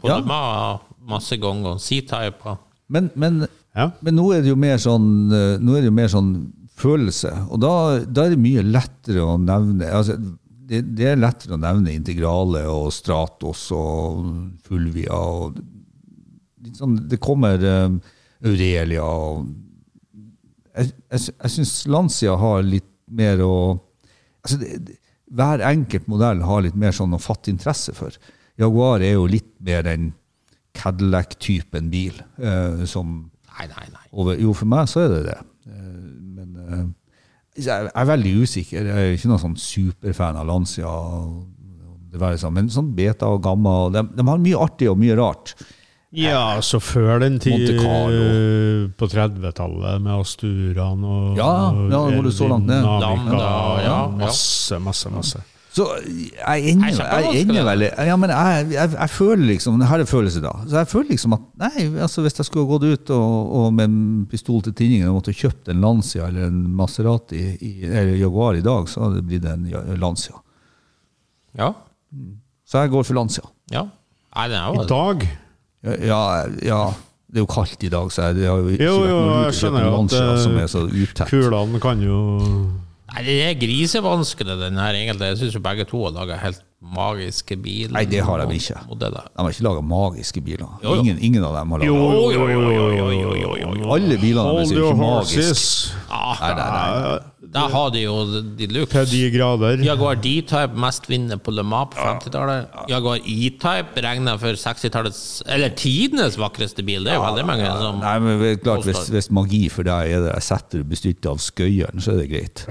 Speaker 1: på
Speaker 3: Ja.
Speaker 1: ja. masse ganger. og C-type. og-
Speaker 3: Men, men,
Speaker 4: Ja.
Speaker 3: men nå er det jo mer sånn, eh, nå er det jo mer sånn følelse, og da, da er det mye lettere å nevne altså, det, det er lettere å nevne integrale og Stratos og Fulvia og litt sånn, Det kommer eh, Aurelia og Jeg, jeg, sy- jeg syns Lancia har litt mer å altså det, det, Hver enkelt modell har litt mer sånn å fatte interesse for. Jaguar er jo litt mer den Cadillac-typen bil eh, som
Speaker 1: Nei, nei, nei.
Speaker 3: over, Jo, for meg så er det det. Eh, men eh, jeg er veldig usikker. Jeg er ikke noen sånn superfan av Lancia. Det være sånn. Men sånn beta og gamma og de, de har mye artig og mye rart.
Speaker 4: Ja, så før den tid
Speaker 3: Monte Carlo.
Speaker 4: eh, på 30-tallet med Asturan og
Speaker 3: Ja, ja, nå går du så langt ned.
Speaker 4: Lambda,
Speaker 1: Lambda,
Speaker 4: ja,
Speaker 1: ja, ja.
Speaker 4: masse, masse, masse.
Speaker 3: Så jeg ender,
Speaker 1: Nei, kjempevanskelig.
Speaker 3: jeg ender veldig ja, men jeg, jeg, jeg føler liksom Her er følelse, da. Så jeg føler liksom at nei, altså hvis jeg skulle gått ut og, og med en pistol til tinningen og måtte kjøpt en Lancia eller en Maserati i, eller Jaguar i dag, så hadde det blitt en Ja- Lancia.
Speaker 1: Ja.
Speaker 3: Så jeg går for Lancia.
Speaker 1: ja. Nei, den er
Speaker 4: I
Speaker 1: jo
Speaker 4: dag
Speaker 3: Ja, ja, ja det er jo kaldt i dag, så jeg, det har jo ikke
Speaker 4: Jo, jo, jeg
Speaker 3: å kjøpe
Speaker 4: skjønner
Speaker 3: en
Speaker 4: jo at,
Speaker 3: Lancia
Speaker 4: eh,
Speaker 3: som er så uttett.
Speaker 4: Kulene kan jo
Speaker 1: Nei, det er grisevanskelig, den her, egentlig. Jeg syns jo begge to har laga helt magiske biler.
Speaker 3: Nei, det har de
Speaker 1: og-
Speaker 3: ikke.
Speaker 1: Og det der.
Speaker 3: De har ikke laga magiske biler.
Speaker 1: Jo, jo.
Speaker 3: Ingen, ingen av dem har laga
Speaker 1: Jo, jo, jo, jo, jo, jo, jo, jo.
Speaker 3: Alle bilene deres
Speaker 4: Hold
Speaker 3: er jo
Speaker 4: your
Speaker 3: ikke magiske.
Speaker 4: horses
Speaker 1: Ah, der har de jo de luxe.
Speaker 4: til de grader.
Speaker 1: Jaguar D-type, mest vinnende på Le Mans på 50-tallet. Jaguar E-type regna for 60-tallets Eller tidenes vakreste bil, det er jo veldig mange som
Speaker 3: Nei, men det er klart,
Speaker 1: Påstår.
Speaker 3: hvis, hvis magi for deg er det setter du bestilt av skøyeren, så er det greit.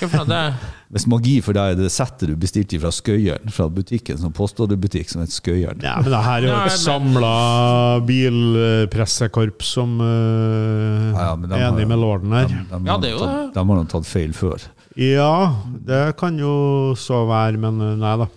Speaker 1: Hvorfor det?
Speaker 3: Hvis magi for deg er det setter du bestilt fra skøyeren, fra butikken som påstår det butikk som heter Skøyeren
Speaker 4: Ja, men det her er jo
Speaker 1: Nei,
Speaker 4: et
Speaker 1: men-
Speaker 4: samla bilpressekorps som eh,
Speaker 3: Ja, ja, men de
Speaker 4: er
Speaker 3: har-
Speaker 4: enig med lorden her.
Speaker 3: De har
Speaker 1: Ja, det er
Speaker 3: nå
Speaker 1: jo det.
Speaker 3: tatt, de har nå tatt feil før.
Speaker 4: Ja, det kan jo så være, men eh, nei da.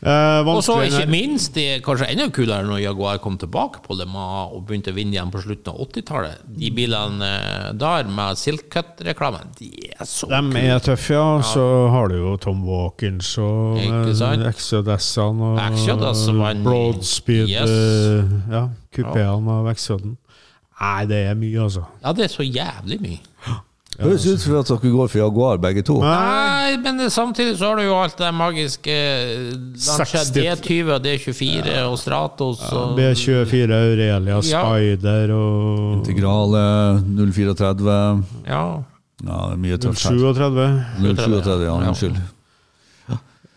Speaker 4: Eh,
Speaker 1: Og så
Speaker 4: vanskelig-
Speaker 1: ikke minst, det er kanskje enda kulere når Jaguar kom tilbake på Le Mans og begynte å vinne igjen på slutten av 80-tallet. De bilene eh, der med Silk Cut-reklamen, de er så
Speaker 4: De er tøffe, ja. Så har du jo Tom Walkins og
Speaker 1: Ikke sant?
Speaker 4: eh, Exodus-ene og
Speaker 1: Exodus vant i-
Speaker 4: Broadspeed
Speaker 1: Yes.
Speaker 4: eh, Ja, kupeene av Exoden. Nei, det er mye, altså.
Speaker 1: Ja, det er så jævlig mye.
Speaker 3: Høres ut som at dere går for Jaguar, begge to.
Speaker 1: Nei, men samtidig så har du jo alt det magiske eh, Lancia
Speaker 4: 60.
Speaker 1: D20 og D24 og Stratos og
Speaker 4: B24, Aurelia,
Speaker 1: Ja.
Speaker 4: Spider og
Speaker 3: Integrale 034
Speaker 1: Ja.
Speaker 3: Ja, det er mye tøft her.
Speaker 4: 37.
Speaker 3: 037, ja,
Speaker 1: Ja.
Speaker 3: unnskyld.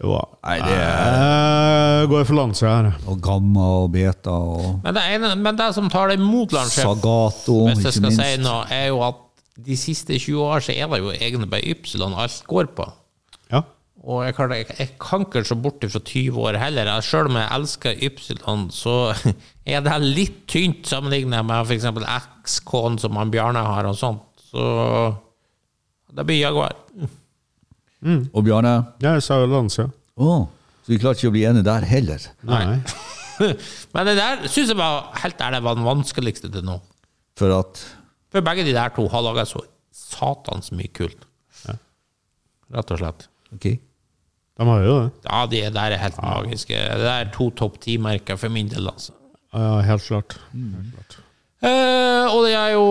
Speaker 4: Jo.
Speaker 3: Nei, det er
Speaker 4: Jeg eh, går for Lancia her.
Speaker 3: Og Gamma og Beta og
Speaker 1: Men det, ene, men det som tar deg imot, Landsjef,
Speaker 3: Sagato,
Speaker 1: hvis jeg
Speaker 3: ikke
Speaker 1: skal si
Speaker 3: minst.
Speaker 1: noe, er jo at de siste 20 år så er det jo egentlig bare Ypsilon alt går på.
Speaker 4: Ja.
Speaker 1: Og jeg kan, jeg, jeg kan ikke se bort fra 20 år heller. Jeg, selv om jeg elsker Ypsilon, så er det litt tynt sammenlignet med f.eks. XK-en som han Bjarne har, og sånt. Så det blir Jaguar.
Speaker 3: Og Bjarne?
Speaker 4: Jeg sa jo Lancia.
Speaker 3: Å, så vi klarte ikke å bli enige der heller.
Speaker 4: Nei.
Speaker 1: Men det der syns jeg var helt ærlig var den vanskeligste til nå.
Speaker 3: For at
Speaker 1: For begge de der to har laga så satans mye kult. Rett og slett.
Speaker 3: Ok.
Speaker 4: De har jo det.
Speaker 1: Ja, de der er helt magiske. Det er to topp ti-merker for min del, altså.
Speaker 4: Ja, helt klart.
Speaker 1: Eh, og det er jo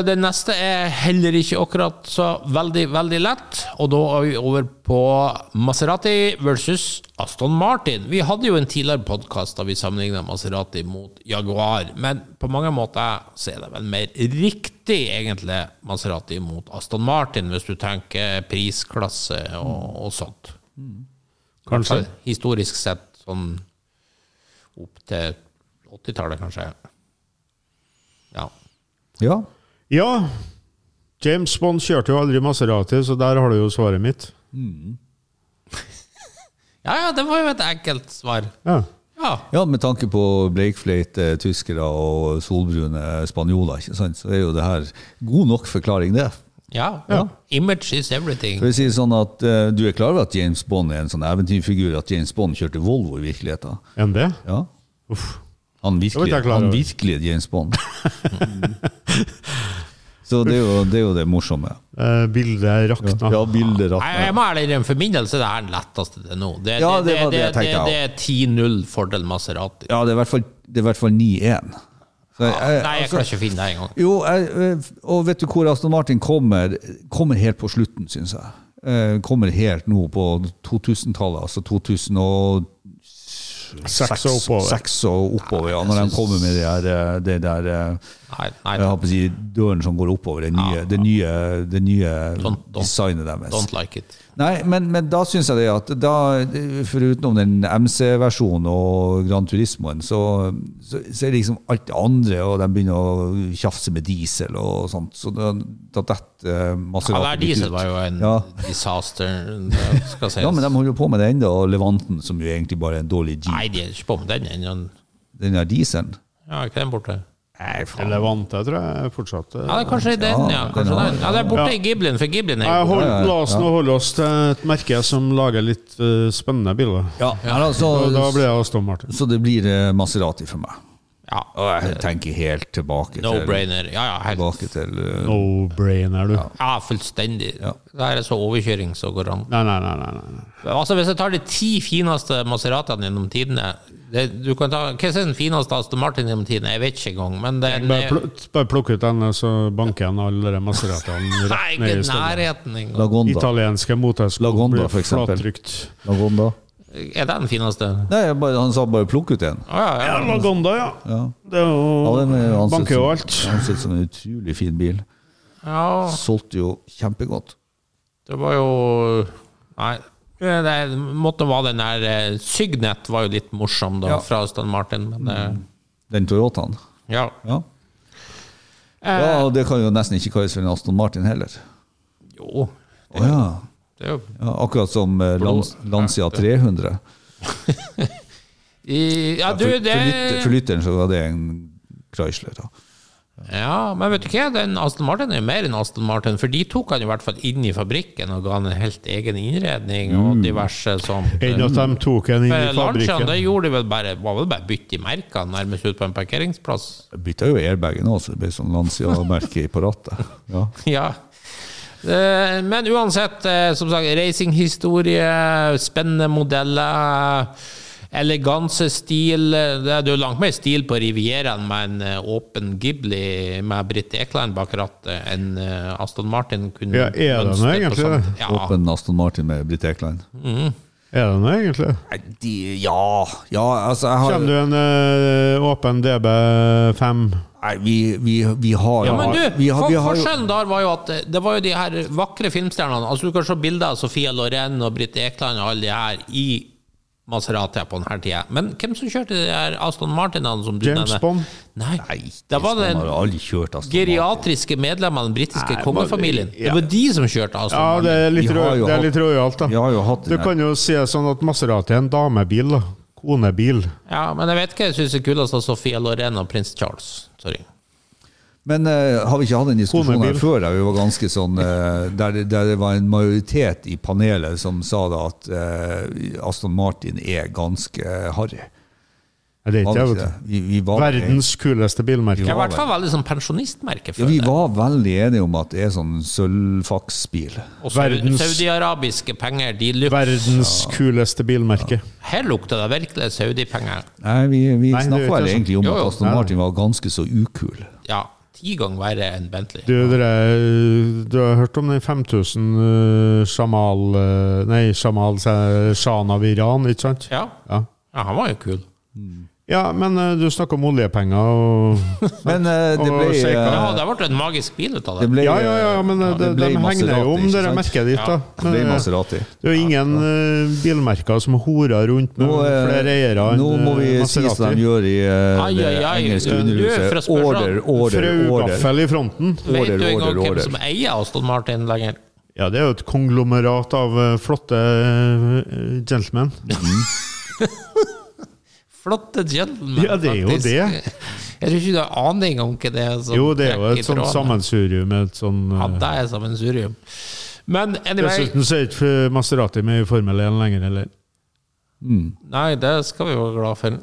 Speaker 1: Den neste er heller ikke akkurat så veldig, veldig lett. Og da er vi over på Maserati versus Aston Martin. Vi hadde jo en tidligere podkast da vi sammenligna Maserati mot Jaguar, men på mange måter så er det vel mer riktig, egentlig, Maserati mot Aston Martin, hvis du tenker prisklasse og, og sånt.
Speaker 4: Kanskje.
Speaker 1: Historisk sett sånn opp til 80-tallet, kanskje. Ja.
Speaker 3: Ja.
Speaker 4: Ja. James Bond kjørte jo aldri Maserati, så der har du jo svaret mitt.
Speaker 1: ja, ja, det var jo et enkelt svar.
Speaker 4: Ja.
Speaker 1: Ja.
Speaker 3: ja, med tanke på bleikfløyte tyskere og solbrune spanjoler, ikke sant? så er jo det her god nok forklaring, det.
Speaker 1: ja. Image is everything.
Speaker 3: For å si det sånn at eh, Du er klar over at James Bond er en sånn eventyrfigur, at James Bond kjørte Volvo i virkeligheten?
Speaker 4: Enn det?
Speaker 3: Ja.
Speaker 4: Uff.
Speaker 3: Han
Speaker 4: Det var
Speaker 3: virkelige
Speaker 4: ikke jeg klar
Speaker 3: han
Speaker 4: over.
Speaker 3: virkelige James Bond. Så det er, jo, det er jo det morsomme.
Speaker 4: Eh, bildet rakna.
Speaker 3: Ja, bilder
Speaker 1: Nei, jeg
Speaker 3: at
Speaker 1: må ærlig innrømme, for min del så er det her den letteste til nå. Det,
Speaker 3: Ja, det var det jeg tenkte,
Speaker 1: det, det er 10-0 fordel Maserati.
Speaker 3: Ja, det er i hvert fall, det er i hvert fall 9-1. Så jeg- jeg-
Speaker 1: Nei, jeg
Speaker 3: altså-
Speaker 1: klarer ikke å finne det engang.
Speaker 3: Jo, jeg, eh, og vet du hvor Aston Martin kommer? Kommer helt på slutten, syns jeg. Eh, Kommer helt nå på 2000-tallet, altså 2006
Speaker 4: Seks og oppover.
Speaker 3: seks og oppover ja, når de kommer med det der, eh, det der eh,
Speaker 1: Nei, nei,
Speaker 3: jeg har på å si døren som går oppover, det nye, det nye, det nye
Speaker 1: Don't- don't-
Speaker 3: designet deres.
Speaker 1: don't like it.
Speaker 3: Nei, men, men da syns jeg det at da, for utenom den MC-versjonen og Gran Turismoen, så, så, så er det liksom alt det andre, og de begynner å tjafse med diesel og sånt. Så da, da detter eh,
Speaker 1: Ja,
Speaker 3: Maserati
Speaker 1: der
Speaker 3: litt
Speaker 1: diesel
Speaker 3: ut.
Speaker 1: var jo en
Speaker 3: ja.
Speaker 1: disaster, det skal sies.
Speaker 3: ja, men de holder jo på med det ennå, og Levanten, som jo egentlig bare er en dårlig jeep.
Speaker 1: Nei, de er ikke på med den ennå.
Speaker 3: Den der dieselen
Speaker 1: Ja, er ikke den borte?
Speaker 3: Nei, faen.
Speaker 4: Relevant, jeg tror jeg fortsatt eh.
Speaker 1: Ja, det er kanskje den, ja.
Speaker 3: den
Speaker 1: Kanskje
Speaker 3: har-
Speaker 1: den. Ja, det er borte i Giblin, for Giblin er
Speaker 4: Nei,
Speaker 1: jo
Speaker 4: hold,
Speaker 3: ja, ja.
Speaker 4: La oss nå holde oss til et merke som lager litt eh, spennende biler.
Speaker 3: Ja, men altså,
Speaker 4: Og da blir det Aston Martin.
Speaker 3: så det blir eh, Maserati for meg.
Speaker 1: ja,
Speaker 3: Og jeg tenker helt tilbake
Speaker 1: No
Speaker 3: til,
Speaker 1: brainer. Ja, ja, helt
Speaker 3: tilbake til eh,
Speaker 4: No-brainer, du.
Speaker 1: Ja, fullstendig.
Speaker 3: Ja.
Speaker 1: Det her er så overkjøring som går an.
Speaker 4: Nei, nei, nei. nei, nei.
Speaker 1: Altså, Hvis jeg tar de ti fineste Maseratene gjennom tidene det, du kan ta, Hva er den fineste Aston Martin gjennom tidene? Jeg vet ikke engang. men det er
Speaker 4: Bare, pluk, bare plukk ut den, så banker jeg alle de Maseratene
Speaker 1: Nei,
Speaker 4: rett
Speaker 1: ikke
Speaker 4: ned
Speaker 1: i
Speaker 4: i stedet.
Speaker 1: nærheten engang.
Speaker 3: Lagonda.
Speaker 4: Italienske mothester
Speaker 3: Lagonda,
Speaker 4: blir
Speaker 3: for eksempel.
Speaker 4: flattrykt.
Speaker 3: Lagonda.
Speaker 1: Er det den fineste?
Speaker 3: Nei, jeg bare, han sa bare 'plukk ut en'.
Speaker 1: Å ja,
Speaker 4: Ja,
Speaker 1: ja.
Speaker 4: Lagonda, ja. Det er
Speaker 3: Ja, den er
Speaker 4: jo
Speaker 3: jo ansett,
Speaker 4: Banker jo
Speaker 3: som,
Speaker 4: alt.
Speaker 3: ansett som en utrolig fin bil.
Speaker 1: ja.
Speaker 3: Solgte jo kjempegodt.
Speaker 1: Det var jo Nei. Det måtte være den der eh, Sygnet var jo litt morsom, da,
Speaker 3: Ja. Mm.
Speaker 1: fra Aston Martin, men eh,
Speaker 3: Den Toyotaen.
Speaker 1: ja.
Speaker 3: Ja.
Speaker 1: Eh.
Speaker 3: ja, og det kan jo nesten ikke kalles for en Aston Martin heller.
Speaker 1: Jo.
Speaker 3: Å ja.
Speaker 1: Det er jo
Speaker 3: ja. Akkurat som eh, Lans, Lancia 300.
Speaker 1: I, Ja,
Speaker 3: For,
Speaker 1: du,
Speaker 3: for,
Speaker 1: det
Speaker 3: lytter, for lytteren så var det en Chrysler. Da.
Speaker 1: Ja, men vet du hva? Den Aston Martin er jo mer enn Aston Martin, for de tok han i hvert fall inn i fabrikken og ga han en helt egen innredning og diverse sånt.
Speaker 4: Enn at de tok Mm. en inn i
Speaker 1: Eh, Lanciaen,
Speaker 4: fabrikken.
Speaker 1: det gjorde de vel bare var vel bare bytte i merkene nærmest ut på en parkeringsplass.
Speaker 3: Jeg Bytta jo airbagen òg, så det ble sånn Lancia-merke på rattet. Ja.
Speaker 1: Ja. Eh, Men uansett, eh, som sagt, racinghistorie, spennende modeller, elegansestil eh, Det er jo langt mer stil på Rivieraen med en eh, åpen Ghibli med Britt Ekland bak rattet enn eh, Aston Martin kunne
Speaker 4: Ja, er det nå
Speaker 1: ønsket på
Speaker 4: egentlig
Speaker 1: sånt.
Speaker 4: det?
Speaker 1: Ja,
Speaker 3: Åpen Aston Martin med Britt Ekland.
Speaker 4: Er det nå, egentlig?
Speaker 3: Nei, de, ja Ja, altså, jeg har
Speaker 4: Kommer du en eh, åpen DB5?
Speaker 3: Nei, vi, vi, vi har
Speaker 1: Ja, men du,
Speaker 3: vi har,
Speaker 1: for,
Speaker 3: vi har jo,
Speaker 1: forskjellen der var jo at eh, det var jo de her vakre filmstjernene. Altså Du kan se bilder av Sofia Loren og Britt Ekland og alle de her i Maserati på denne tida. Men hvem som kjørte de her Aston Martinene som du
Speaker 4: James
Speaker 1: nevner?
Speaker 4: Bond?
Speaker 1: Nei,
Speaker 3: Nei,
Speaker 1: det var
Speaker 3: de
Speaker 1: den
Speaker 3: har aldri kjørt Aston Martin.
Speaker 1: geriatriske medlemmene av den britiske
Speaker 4: Nei,
Speaker 1: kongefamilien.
Speaker 4: men- ja.
Speaker 1: Det var de som kjørte Aston
Speaker 4: Ja, det
Speaker 1: Martin.
Speaker 4: er litt,
Speaker 3: Vi har
Speaker 4: rå-
Speaker 3: jo
Speaker 4: det
Speaker 3: hatt-
Speaker 4: er litt rojalt,
Speaker 3: Vi
Speaker 4: da.
Speaker 3: har jo hatt
Speaker 4: Du
Speaker 3: den her-
Speaker 4: kan jo si det sånn at Maserati er en damebil. da. Konebil.
Speaker 1: Ja, men jeg vet ikke, jeg syns det er kulest av Sofia Loren og prins Charles. Sorry.
Speaker 3: Men eh, har vi ikke hatt en diskusjon her
Speaker 4: Konebil.
Speaker 3: før der vi var ganske sånn eh, der, der det var en majoritet i panelet som sa da at eh, Aston Martin er ganske harry?
Speaker 4: Nei, det er
Speaker 3: eh, Var det ikke
Speaker 4: ikke det, vet
Speaker 3: det?
Speaker 4: du.
Speaker 3: Vi, vi var,
Speaker 4: Verdens kuleste bilmerke.
Speaker 1: Det er i hvert fall veldig sånn pensjonistmerke.
Speaker 3: ja, vi var veldig enige om at det er sånn sølvfaksbil.
Speaker 1: Og sau-
Speaker 4: Verdens-
Speaker 1: saudi-arabiske penger, de lukt,
Speaker 4: Verdens kuleste bilmerke.
Speaker 1: her lukter det virkelig saudi-penger.
Speaker 3: Nei, vi, vi
Speaker 4: Nei, det
Speaker 3: snakka
Speaker 4: vet
Speaker 3: vel
Speaker 4: jeg ikke.
Speaker 3: egentlig om
Speaker 1: Jo, jo.
Speaker 3: at Aston
Speaker 4: Nei, nei.
Speaker 3: Martin var ganske så ukul.
Speaker 1: Ja, ti ganger verre enn Bentley.
Speaker 4: Du, dere, du har hørt om den 5000 eh, Shamal eh, Nei, Shamal eh, Shana Viran, ikke sant?
Speaker 1: Ja.
Speaker 4: Ja,
Speaker 1: ja, han var jo kul.
Speaker 4: ja men eh, du snakker om oljepenger og
Speaker 3: Men eh, det
Speaker 4: Og
Speaker 3: ble
Speaker 4: shaker.
Speaker 3: eh,
Speaker 1: Ja, det ble en magisk bil ut av
Speaker 3: det
Speaker 1: det.
Speaker 3: ble,
Speaker 4: Ja, ja, ja, men eh,
Speaker 3: ja,
Speaker 4: de,
Speaker 3: det
Speaker 4: de
Speaker 3: ble
Speaker 4: henger
Speaker 3: Maserati,
Speaker 4: jo om
Speaker 3: ikke
Speaker 4: det
Speaker 3: sant?
Speaker 4: merket ditt, da.
Speaker 3: Det ble
Speaker 4: Men, eh,
Speaker 3: Maserati.
Speaker 4: det er jo ingen eh, bilmerker som horer rundt med
Speaker 3: Nå, eh,
Speaker 4: flere eiere enn
Speaker 3: nå må vi
Speaker 4: eh,
Speaker 3: si som
Speaker 4: Maserati.
Speaker 3: de gjør i eh,
Speaker 1: Ai,
Speaker 3: det
Speaker 1: ai, ai.
Speaker 3: engelske
Speaker 1: Du er fra
Speaker 3: underhuset.
Speaker 1: Spørsmål.
Speaker 3: Order, order, order.
Speaker 4: Fraugaffel i fronten.
Speaker 1: Vet du
Speaker 3: order,
Speaker 1: engang hvem
Speaker 3: order.
Speaker 1: som eier Aston Martin lenger?
Speaker 4: Ja, det er jo et konglomerat av eh, flotte eh, gentlemen.
Speaker 1: Flotte gentleman,
Speaker 4: Ja, det er jo
Speaker 1: faktisk.
Speaker 4: det.
Speaker 1: Jeg tror ikke du har aning om hva det er. som
Speaker 4: Jo, det er jo
Speaker 1: trekker i
Speaker 4: et sånt
Speaker 1: trådene.
Speaker 4: sammensurium. med Et sånn, eh,
Speaker 1: Ja, det er sammensurium. Men anyway
Speaker 4: Dessuten så er ikke Maserati med i Formel 1 lenger, eller?
Speaker 1: Nei, det skal vi jo være glad for.
Speaker 4: Ja,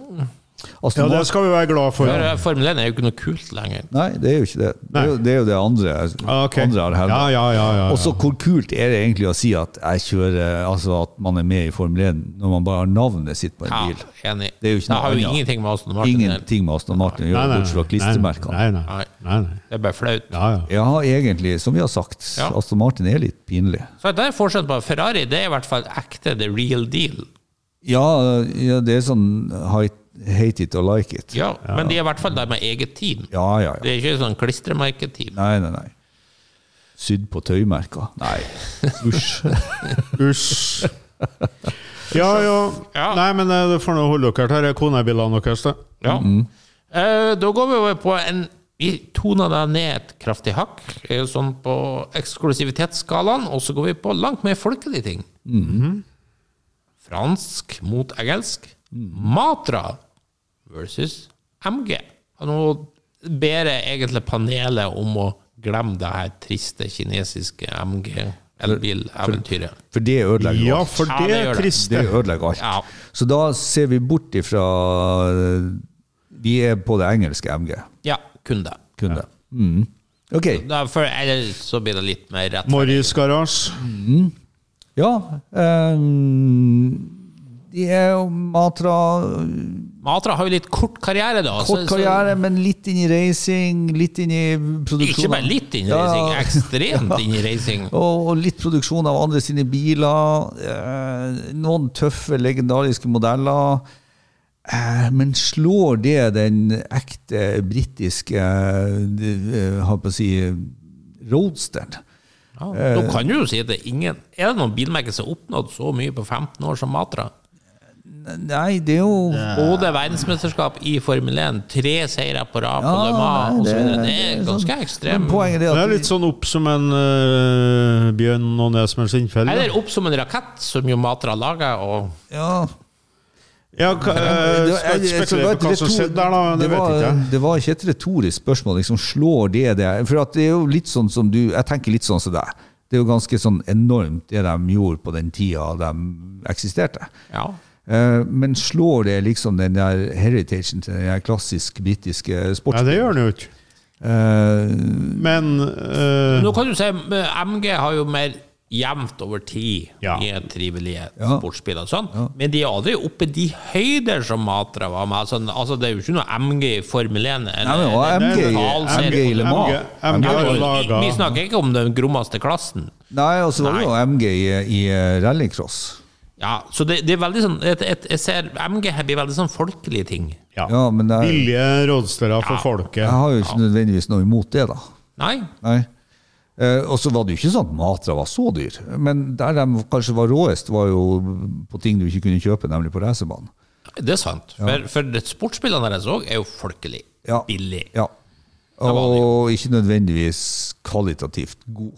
Speaker 3: Aston
Speaker 4: det skal vi være glad for.
Speaker 1: For eh, Formel 1 er jo ikke noe kult lenger.
Speaker 3: Nei, det er jo ikke det. Det er jo det, er jo det andre,
Speaker 4: Ah, ok.
Speaker 3: andre har hevdet.
Speaker 4: Ja, ja, ja, ja, ja.
Speaker 3: Og så hvor kult er det egentlig å si at jeg kjører Altså at man er med i Formel 1 når man bare har navnet sitt på en
Speaker 1: Ja,
Speaker 3: bil?
Speaker 1: enig.
Speaker 3: Det er jo ikke noe
Speaker 1: har jo
Speaker 3: annet.
Speaker 1: ingenting med Aston Martin å gjøre.
Speaker 3: Ingenting med Aston Martin å
Speaker 4: Nei,
Speaker 3: gjøre,
Speaker 4: nei,
Speaker 3: bortsett fra klistremerkene.
Speaker 4: Nei, nei. nei, nei, nei.
Speaker 1: Det er bare flaut.
Speaker 4: Ja, ja.
Speaker 3: Ja, egentlig, som vi har sagt,
Speaker 1: Ja.
Speaker 3: Aston Martin er litt pinlig.
Speaker 1: Så det er forskjell på Ferrari. Det er i hvert fall ekte the real deal.
Speaker 3: Ja, ja det er sånn hate, hate it or like it.
Speaker 1: Ja, Men de er i hvert fall der med eget team.
Speaker 3: Ja, ja,
Speaker 1: Det
Speaker 3: ja.
Speaker 1: er ikke sånn klistremerketeam.
Speaker 3: Nei, nei, nei. Sydd på tøymerker. Nei, usj.
Speaker 4: Usj. Ja, ja.
Speaker 1: Ja.
Speaker 4: Nei, men eh, det får nå holde dere her. Det er konebilene deres, det.
Speaker 1: Ja. Eh, da går vi over på en Vi toner deg ned et kraftig hakk, eh, sånn på eksklusivitetsskalaen, og så går vi på langt mer folkelige ting. Mm. Fransk mot engelsk. Matra versus MG. Og nå ber jeg egentlig panelet om å glemme det her triste kinesiske MG-elbileventyret.
Speaker 3: For det ødelegger
Speaker 4: Ja,
Speaker 3: alt.
Speaker 4: for
Speaker 1: Ja,
Speaker 4: det
Speaker 1: det gjør
Speaker 4: er
Speaker 1: det.
Speaker 4: trist.
Speaker 3: Det ødelegger alt.
Speaker 1: Ja.
Speaker 3: Så da ser vi bort ifra eh, Vi er på det engelske MG.
Speaker 1: Ja, kun det.
Speaker 3: Kun det. Mm. OK.
Speaker 1: Da- For ellers så blir det litt mer rett.
Speaker 4: Morris Garage.
Speaker 3: Ja. ehm, de er jo Matra
Speaker 1: Matra har jo litt kort karriere, da. så-
Speaker 3: Kort
Speaker 1: så-
Speaker 3: karriere, men litt inn i racing, litt inn i produksjon
Speaker 1: Ikke bare
Speaker 3: av-
Speaker 1: litt inn i
Speaker 3: Ja,
Speaker 1: racing, ekstremt inn i racing.
Speaker 3: Og, og litt produksjon av andre sine biler. Eh, noen tøffe, legendariske modeller. Eh, men slår det den ekte britiske eh, de- eh, hva på å si, roadsteren?
Speaker 1: Ja.
Speaker 3: Eh.
Speaker 1: Da kan du jo si at det er ingen Er det noen bilmerker som har oppnådd så mye på 15 år som Matra?
Speaker 3: Nei, det er jo
Speaker 1: Både verdensmesterskap i Formel 1, tre seire på rad på
Speaker 3: Ja,
Speaker 1: Le Mans
Speaker 3: nei,
Speaker 1: osv.
Speaker 3: det-
Speaker 1: Det er
Speaker 3: det er
Speaker 1: ganske
Speaker 3: sånn-
Speaker 1: ekstremt.
Speaker 3: Poenget er
Speaker 4: Det
Speaker 3: at
Speaker 4: er litt sånn opp som en eh, Bjørn og Nesmørs innfell. da.
Speaker 1: Eller opp som en rakett, som jo Matra lager, og
Speaker 3: ja,
Speaker 4: Ja, hva, eh,
Speaker 3: Det-
Speaker 4: skal ikke
Speaker 3: jeg- jeg-
Speaker 4: spekulere på hva som
Speaker 3: retor-
Speaker 4: skjedde der, da. Det,
Speaker 3: det
Speaker 4: vet
Speaker 3: var,
Speaker 4: jeg ikke.
Speaker 3: Det var ikke et retorisk spørsmål. Liksom, slår det det? For at det er jo litt sånn som du Jeg tenker litt sånn som deg. Det er jo ganske sånn enormt det de gjorde på den tida de eksisterte.
Speaker 1: Ja.
Speaker 3: Eh, Men slår det liksom den der heritagen til den der klassisk britiske sports...
Speaker 4: Nei, det gjør han jo ikke.
Speaker 3: Eh,
Speaker 4: Men eh,
Speaker 1: Nå kan du si eh, MG har jo mer jevnt over tid
Speaker 4: Ja.
Speaker 1: i en trivelige
Speaker 3: Ja.
Speaker 1: sportsbil og sånn, men de er aldri oppe i de høyder som Matra var med. Sånn, altså, det er jo ikke noe MG i Formel 1. Eller,
Speaker 3: Nei, men det var
Speaker 1: eller
Speaker 3: MG i-
Speaker 1: totalserie.
Speaker 3: MG i Le Mans.
Speaker 4: MG, MG,
Speaker 1: Ja,
Speaker 4: har jo
Speaker 1: men Vi
Speaker 4: laget-
Speaker 1: snakker ikke om den grommeste klassen.
Speaker 3: Nei, og så var det jo MG i, i rallycross.
Speaker 1: Ja, så det, det er veldig sånn et, et, Jeg ser MG her blir veldig sånn folkelige ting.
Speaker 4: ja.
Speaker 3: Ja, men det er,
Speaker 4: Billige rådstøra for folket.
Speaker 3: jeg har jo ikke nødvendigvis noe imot det, da.
Speaker 1: Nei?
Speaker 3: Nei. Eh, og så var det jo ikke sånn at Matra var så dyr, men der de kanskje var råest, var jo på ting du ikke kunne kjøpe, nemlig på racerbanen.
Speaker 1: Det er sant. For, for det- sportsbilene deres òg er jo folkelig.
Speaker 3: Ja.
Speaker 1: Billig.
Speaker 3: Ja.
Speaker 1: var det
Speaker 3: Og ikke nødvendigvis kvalitativt god.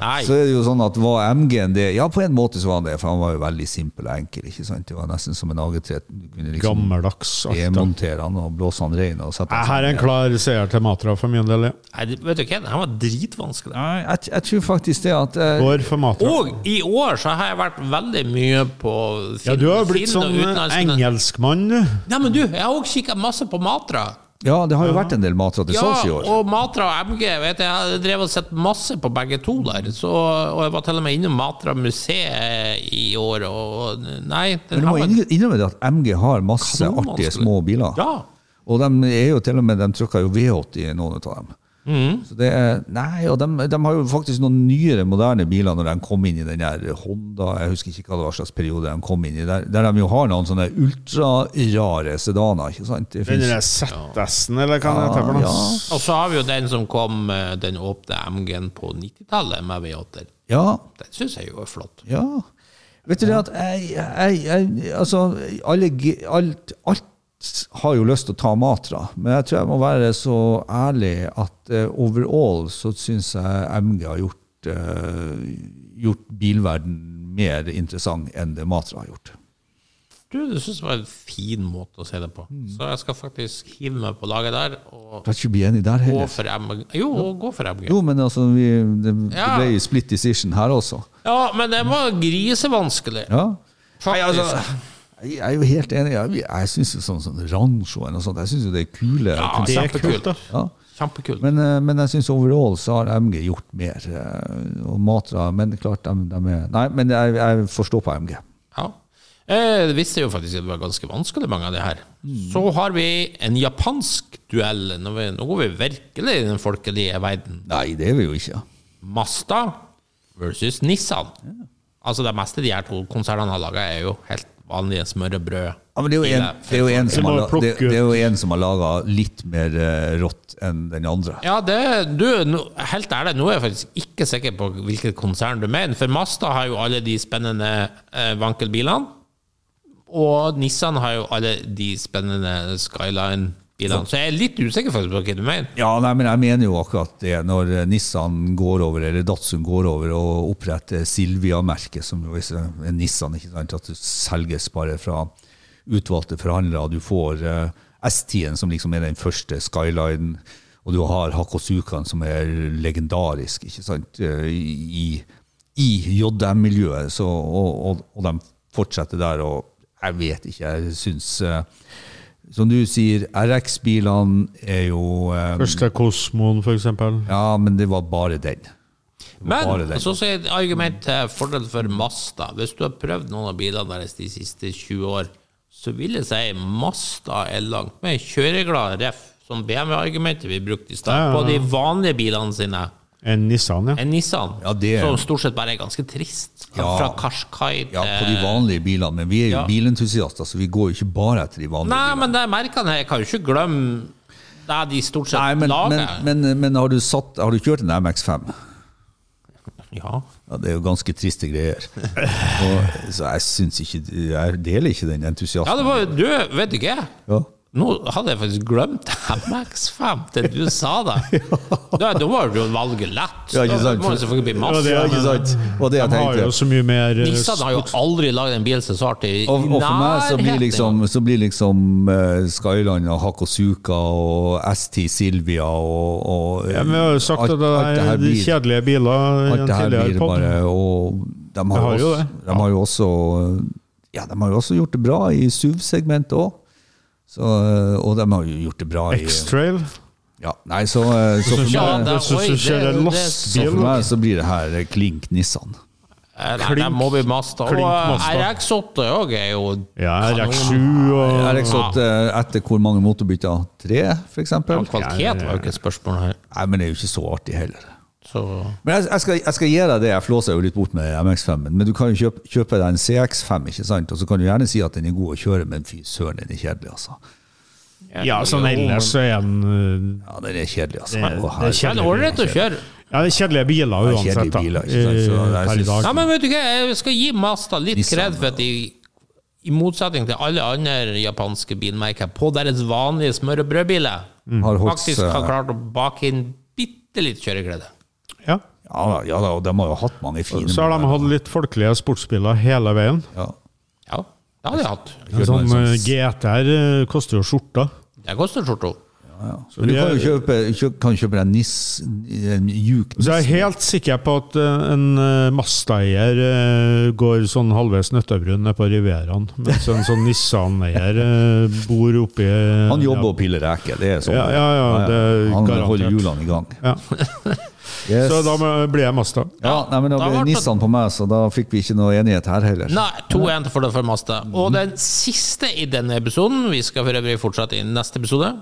Speaker 1: Nei.
Speaker 3: Så er det jo sånn at var MG-en det? Ja, på en måte så var han det, for han var jo veldig simpel og enkel. ikke sant? Det var nesten som en AG3. Du kunne liksom
Speaker 4: Gammeldags. Arta.
Speaker 3: demontere han og blåse han rein. og sette
Speaker 4: Nei,
Speaker 3: han
Speaker 4: Her er en
Speaker 3: sammen.
Speaker 4: klar seier til Matra for min del. ja.
Speaker 1: Nei, det- vet du hva, den her var dritvanskelig.
Speaker 3: Nei, jeg, jeg tror faktisk det at eh,
Speaker 4: Går for Matra.
Speaker 1: Og i år så har jeg vært veldig mye på
Speaker 4: Ja, du har jo blitt
Speaker 1: Finn og
Speaker 4: sånn
Speaker 1: utenlandske-
Speaker 4: engelskmann, du.
Speaker 1: Nei, men du, jeg har også kikket masse på Matra.
Speaker 3: Ja, det har jo vært en del matra til
Speaker 1: Ja,
Speaker 3: salgs i år.
Speaker 1: og Matra og MG. Vet jeg, jeg har drevet og sett masse på begge to der. Så, og jeg var til og med innom Matra museet i år, og nei den
Speaker 3: Men du
Speaker 1: har
Speaker 3: må
Speaker 1: vært-
Speaker 3: innrø- innrømme det at MG har masse
Speaker 1: Kanonvanskelig.
Speaker 3: artige små biler.
Speaker 1: Ja.
Speaker 3: Og de er jo til og med, de trykker jo V80 i noen av dem. Så det er, nei, og de, de har jo faktisk noen nyere, moderne biler når de kom inn i den der Honda, jeg husker ikke hva det var slags periode de kom inn i, der, der de jo har noen sånne ultrarare sedaner, ikke sant? Det
Speaker 4: Den
Speaker 3: finnes-
Speaker 4: der ZS-en, eller hva den heter
Speaker 3: Ja,
Speaker 4: for noe.
Speaker 1: Og så har vi jo den som kom, eh, den åpne MG-en på 90-tallet med V8-er.
Speaker 3: ja,
Speaker 1: Den syns jeg jo er flott.
Speaker 3: Ja. Vet du det at jeg, jeg, jeg Altså, alle, g- alt, alt har jo lyst til å ta Matra, men jeg tror jeg må være så ærlig at eh, overall så syns jeg MG har gjort, eh, gjort bilverden mer interessant enn det Matra har gjort.
Speaker 1: Du, det syns jeg var en fin måte å se det på.
Speaker 3: Mm.
Speaker 1: Så jeg skal faktisk hive meg på laget der, og
Speaker 3: Du er ikke enig der
Speaker 1: gå
Speaker 3: heller?
Speaker 1: for MG. Jo, og gå for MG.
Speaker 3: Jo, men altså, vi, det, det
Speaker 1: Ja.
Speaker 3: ble jo split decision her også.
Speaker 1: Ja, men den var grisevanskelig. altså,
Speaker 3: Ja.
Speaker 1: Faktisk.
Speaker 3: Jeg jeg er jo helt enig. Jeg, jeg syns jo sånn, sånn Rancho eller noe sånt, jeg syns jo det er kule.
Speaker 1: Ja,
Speaker 4: Det er
Speaker 1: kjempekult.
Speaker 4: kult, da.
Speaker 3: Ja.
Speaker 1: Kjempekult.
Speaker 3: Men, eh, men jeg syns overall så har MG gjort mer. eh, Og Matra Men klart, de, de er Nei, men jeg, jeg forstår på MG.
Speaker 1: Ja. Eh, Det visste jo faktisk at det var ganske vanskelig, mange av de her.
Speaker 4: Mm.
Speaker 1: Så har vi en japansk duell. Nå, vi, nå går vi virkelig i den folkelige verden.
Speaker 3: Nei, det er vi jo ikke.
Speaker 1: Masta versus Nissan. Altså Det meste de her to konsernene har laga, er jo helt vanlige smørrebrød.
Speaker 3: Ja, men det er jo en, det er jo en, som,
Speaker 4: Vi må
Speaker 3: har, la- det,
Speaker 4: plukke ut.
Speaker 3: det er jo en som har laga litt mer eh, rått enn den andre.
Speaker 1: Ja, det, du, nå- helt ærlig, nå er jeg faktisk ikke sikker på hvilket konsern du mener. For Mazda har jo alle de spennende eh, vankelbilene. Og Nissan har jo alle de spennende Skyline-bilene. Så jeg er litt usikker faktisk på hva du mener.
Speaker 3: Ja, nei, men jeg mener jo akkurat det. Når eh, Nissan går over, eller Datsun går over og oppretter Silvia-merket, som jo er er Nissan, ikke sant, at det selges bare fra utvalgte forhandlere. Du får eh, S10-en, som liksom er den første skylinen, og du har Hakosukaen, som er legendarisk, ikke sant, eh, i, i JM-miljøet. Så- Og, og, og de fortsetter der, og jeg vet ikke, jeg syns eh, som du sier, RX-bilene er jo eh,
Speaker 4: Første Kosmoen, for eksempel.
Speaker 3: ja, men det var bare den. Det var bare
Speaker 1: Men
Speaker 3: den.
Speaker 1: så sier jeg et argument til fordel for Mazda. Hvis du har prøvd noen av bilene deres de siste 20 år, så vil jeg si Mazda er langt mer kjøreglad ref, som BMW-argumentet vi brukte i
Speaker 4: Ja,
Speaker 1: stad,
Speaker 4: ja,
Speaker 1: på de
Speaker 4: ja.
Speaker 1: vanlige bilene sine.
Speaker 4: En Nissan, ja.
Speaker 1: en Nissan,
Speaker 3: Ja, det-
Speaker 1: som stort sett bare er ganske trist.
Speaker 3: Ja.
Speaker 1: Fra Qashqai til
Speaker 3: ja, på de vanlige bilene, men vi er jo
Speaker 1: Eh. ja.
Speaker 3: bilentusiaster, så vi går jo ikke bare etter de vanlige
Speaker 1: Nei,
Speaker 3: bilene.
Speaker 1: men det er merkene her. Jeg kan jo ikke glemme det de stort sett
Speaker 3: Nei, men, men,
Speaker 1: lager.
Speaker 3: men, men har, du satt, har du kjørt en MX5?
Speaker 1: ja.
Speaker 3: Ja, det er jo ganske triste greier. Og, så jeg syns ikke Jeg deler ikke den
Speaker 1: ja,
Speaker 3: entusiasmen.
Speaker 1: det var jo Du, vet du ikke?
Speaker 3: Ja.
Speaker 1: Nå hadde jeg faktisk glemt MX5 til du sa det. Da, da var jo valget lett.
Speaker 3: Ja, ikke sant?
Speaker 1: Da må det selvfølgelig bli masse.
Speaker 4: det
Speaker 3: Ja,
Speaker 4: er-
Speaker 3: ikke sant? Og det
Speaker 4: De
Speaker 3: jeg
Speaker 4: har jo
Speaker 3: tenkte.
Speaker 4: så mye mer eh,
Speaker 1: Nissan har jo aldri lagd en bil som svarte i
Speaker 3: Og, og for meg så blir
Speaker 1: nærheten
Speaker 3: liksom, så blir liksom eh, Skyline og Hakosuka og ST Silvia og, og
Speaker 4: Ja, Vi har jo sagt
Speaker 3: alt-
Speaker 4: at det
Speaker 3: alt
Speaker 4: er
Speaker 3: her
Speaker 4: de
Speaker 3: blir-
Speaker 4: kjedelige biler i
Speaker 3: Alt
Speaker 4: en
Speaker 3: det her
Speaker 4: tidligere
Speaker 3: blir
Speaker 4: podd.
Speaker 3: bare Og de har,
Speaker 4: Det
Speaker 3: jo
Speaker 4: har jo
Speaker 3: også,
Speaker 4: det.
Speaker 3: de har jo også Ja, de har jo også gjort det bra i SUV-segmentet òg. Og de har jo gjort det bra i
Speaker 4: X-Trail.
Speaker 3: ja, Nei, så, eh, så, for
Speaker 1: Ja,
Speaker 3: meg,
Speaker 1: det,
Speaker 4: Jeg synes
Speaker 1: oi,
Speaker 4: du ser
Speaker 1: det-
Speaker 4: en
Speaker 1: det-
Speaker 3: så
Speaker 4: lastebil.
Speaker 3: for meg så blir det her klink Nissan.
Speaker 1: Eh, Nei,
Speaker 4: Klink-
Speaker 1: det må bli Mazda. Og
Speaker 4: klink Mazda.
Speaker 1: RX8 òg er jo
Speaker 4: Ja, RX7
Speaker 1: kanon.
Speaker 4: og
Speaker 3: RX8 eh, etter hvor mange motorbytter? Tre, f.eks.?
Speaker 1: Ja, kvalitet var jo ikke et spørsmål her.
Speaker 3: Nei, men det er jo ikke så artig heller.
Speaker 1: Så
Speaker 3: Men jeg, jeg, skal, jeg skal gi deg det, jeg flåser jo litt bort med MX5-en, men du kan jo kjøpe, kjøpe deg en CX5, ikke sant? Og så kan du gjerne si at den er god å kjøre, men fy søren, den er kjedelig, altså.
Speaker 4: Ja, sånn ellers så er den eh,
Speaker 3: Ja, den er kjedelig, altså.
Speaker 4: Det-
Speaker 3: Å,
Speaker 4: det er
Speaker 1: Ja,
Speaker 4: kjedelig.
Speaker 1: det er ålreit å kjøre.
Speaker 4: Ja, det er kjedelige biler
Speaker 3: er kjedelige
Speaker 4: uansett, da.
Speaker 3: biler, ikke sant, så
Speaker 4: eh,
Speaker 3: jeg
Speaker 4: Per i
Speaker 3: synes-
Speaker 1: Ja,
Speaker 4: dag.
Speaker 1: men vet du hva, jeg skal gi Mazda litt
Speaker 3: Nissan,
Speaker 1: kred for at de, i motsetning til alle andre japanske bilmerker, på deres vanlige smør-
Speaker 3: Mm.
Speaker 1: og brødbiler,
Speaker 3: Har eh, holdt
Speaker 1: faktisk
Speaker 3: seg-
Speaker 1: har klart å bake inn bitte litt kjøreglede.
Speaker 4: Ja.
Speaker 3: Ja, da, ja da, og de har jo hatt mange fine
Speaker 4: Så har de hatt litt folkelige sportsbiler hele veien.
Speaker 3: ja.
Speaker 1: Ja, det hadde jeg hatt.
Speaker 4: Sånn eh, GTR eh, koster jo skjorta.
Speaker 1: Det koster skjorta.
Speaker 3: Men du kan jo kjøpe, kjø, kan kjøpe deg NIS, en mjuk
Speaker 4: Så jeg er helt sikker på at eh, en eh, Mazda-eier eh, går sånn halvveis nøttebrun ned på Rivieraen, mens en sånn Nissan-eier eh, bor eh, oppi
Speaker 3: Han jobber og piller reker, det er sånn.
Speaker 4: Ja, ja, ja, det
Speaker 3: Han
Speaker 4: er
Speaker 3: holder
Speaker 4: garantert.
Speaker 3: hjulene i gang.
Speaker 4: Ja.
Speaker 3: Yes.
Speaker 4: Så da må- blir jeg Mazda.
Speaker 3: ja, nei, men da
Speaker 1: Da ble
Speaker 3: ble
Speaker 1: det-
Speaker 3: Nissan på meg, så da fikk vi ikke noe enighet her heller.
Speaker 1: Nei, 2-1 til fordel for Mazda. Og den siste i denne episoden, vi skal for øvrig fortsette i neste episode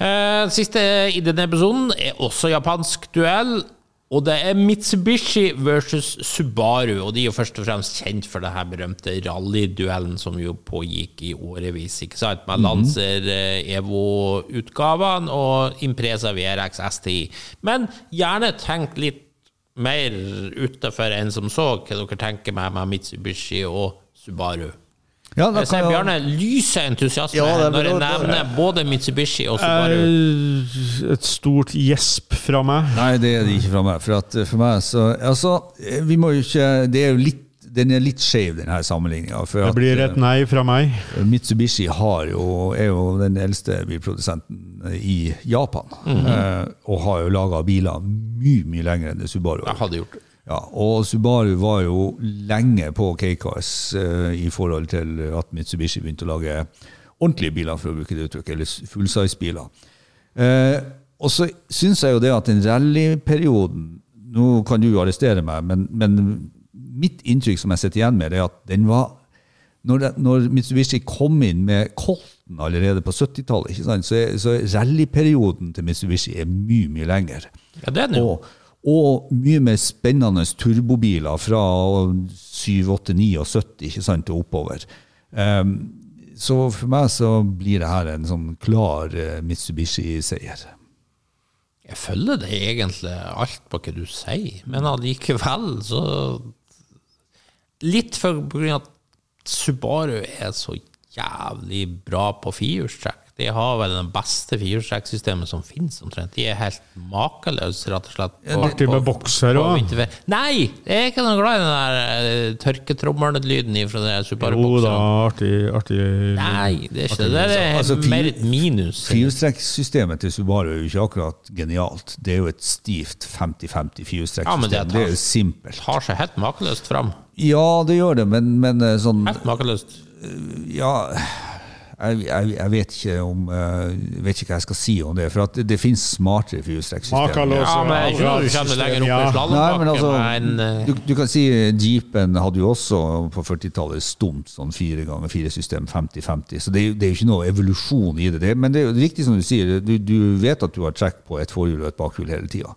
Speaker 1: Eh, Siste i denne episoden er også japansk duell. Og det er Mitsubishi versus Subaru, og de er jo først og fremst kjent for denne berømte rallyduellen som jo pågikk i årevis, ikke sant? Med Lancer eh, Evo-utgavene og Impresa VRX STI. Men gjerne tenk litt mer utenfor enn som så, hva dere tenker med, med Mitsubishi og Subaru.
Speaker 3: Ja, da
Speaker 1: Jeg ser
Speaker 3: kan jeg-
Speaker 1: Bjarne lyse entusiasme
Speaker 3: Ja, det er
Speaker 1: når jeg
Speaker 3: bra, det er-
Speaker 1: nevner både Mitsubishi og Subaru.
Speaker 4: Eh, Et stort gjesp fra meg.
Speaker 3: Nei, det er det ikke fra meg. For, at, eh, for meg så, altså, eh, vi må jo ikke, det er jo litt, den er litt skjev, denne sammenligninga.
Speaker 4: Det blir et nei fra meg.
Speaker 3: Mitsubishi har jo, er jo den eldste bilprodusenten i Japan. eh, og har jo laga biler mye, mye lenger enn det Subaru.
Speaker 1: Jeg hadde gjort det.
Speaker 3: Ja, og Subaru var jo lenge på K-Cars eh, i forhold til at Mitsubishi begynte å lage ordentlige biler, for å bruke det uttrykket, eller fullsize-biler. Eh, og så syns jeg jo det at den rallyperioden Nå kan du jo arrestere meg, men, men mitt inntrykk som jeg sitter igjen med, det er at den var når, det, når Mitsubishi kom inn med Colton allerede på 70-tallet, ikke sant, så, er- så er rallyperioden til Mitsubishi er mye, mye lenger.
Speaker 1: Ja, det er den jo.
Speaker 3: Og, og mye mer spennende turbobiler fra 7-8-79 ikke sant, og oppover. Ehm, så for meg så blir det her en sånn klar eh, Mitsubishi-seier.
Speaker 1: Jeg følger det egentlig alt på hva du sier, men allikevel så Litt for på grunn av at Subaru er så jævlig bra på firehjulstrekk. De har vel det beste firehjulstrekksystemet som finnes, omtrent. De er helt makeløse, rett og slett. på-
Speaker 4: Artig med bokser
Speaker 1: på
Speaker 4: òg.
Speaker 1: vinterferie. Nei! Jeg er ikke noe glad i den der eh, tørketrommelen-lyden fra det
Speaker 4: Jo da,
Speaker 1: Subaru-boksen.
Speaker 4: artig, artig
Speaker 1: Nei, det er ikke det. Det er
Speaker 3: Altså, fire-
Speaker 1: mer et minus.
Speaker 3: Firestrekksystemet til Subaru er jo ikke akkurat genialt. Det er jo et stivt 50-50
Speaker 1: Ja, men
Speaker 3: firestrekksystem.
Speaker 1: det
Speaker 3: det,
Speaker 1: tar-
Speaker 3: er jo simpelt.
Speaker 1: Tar seg helt makeløst fram.
Speaker 3: Ja, det gjør det, men, men eh, sånn
Speaker 1: Helt makeløst.
Speaker 3: Ja, jeg, jeg, jeg vet ikke om eh, jeg vet ikke hva jeg skal si om det. For at det, det finnes smartere firehjulstrekksystemer.
Speaker 4: Makaløs.
Speaker 1: Ja, men jeg skjønner du kommer lenger opp i
Speaker 3: Nei, men
Speaker 1: slalåmbakken.
Speaker 3: altså,
Speaker 1: men, eh,
Speaker 3: du, du kan si eh, Jeepen hadde jo også på 40-tallet stumt sånn fire ganger fire system, 50-50. Så det, er jo- det er jo ikke noe evolusjon i det. det. Men det er jo riktig som du sier, du, du vet at du har trekk på et forhjul og et bakhjul hele tida.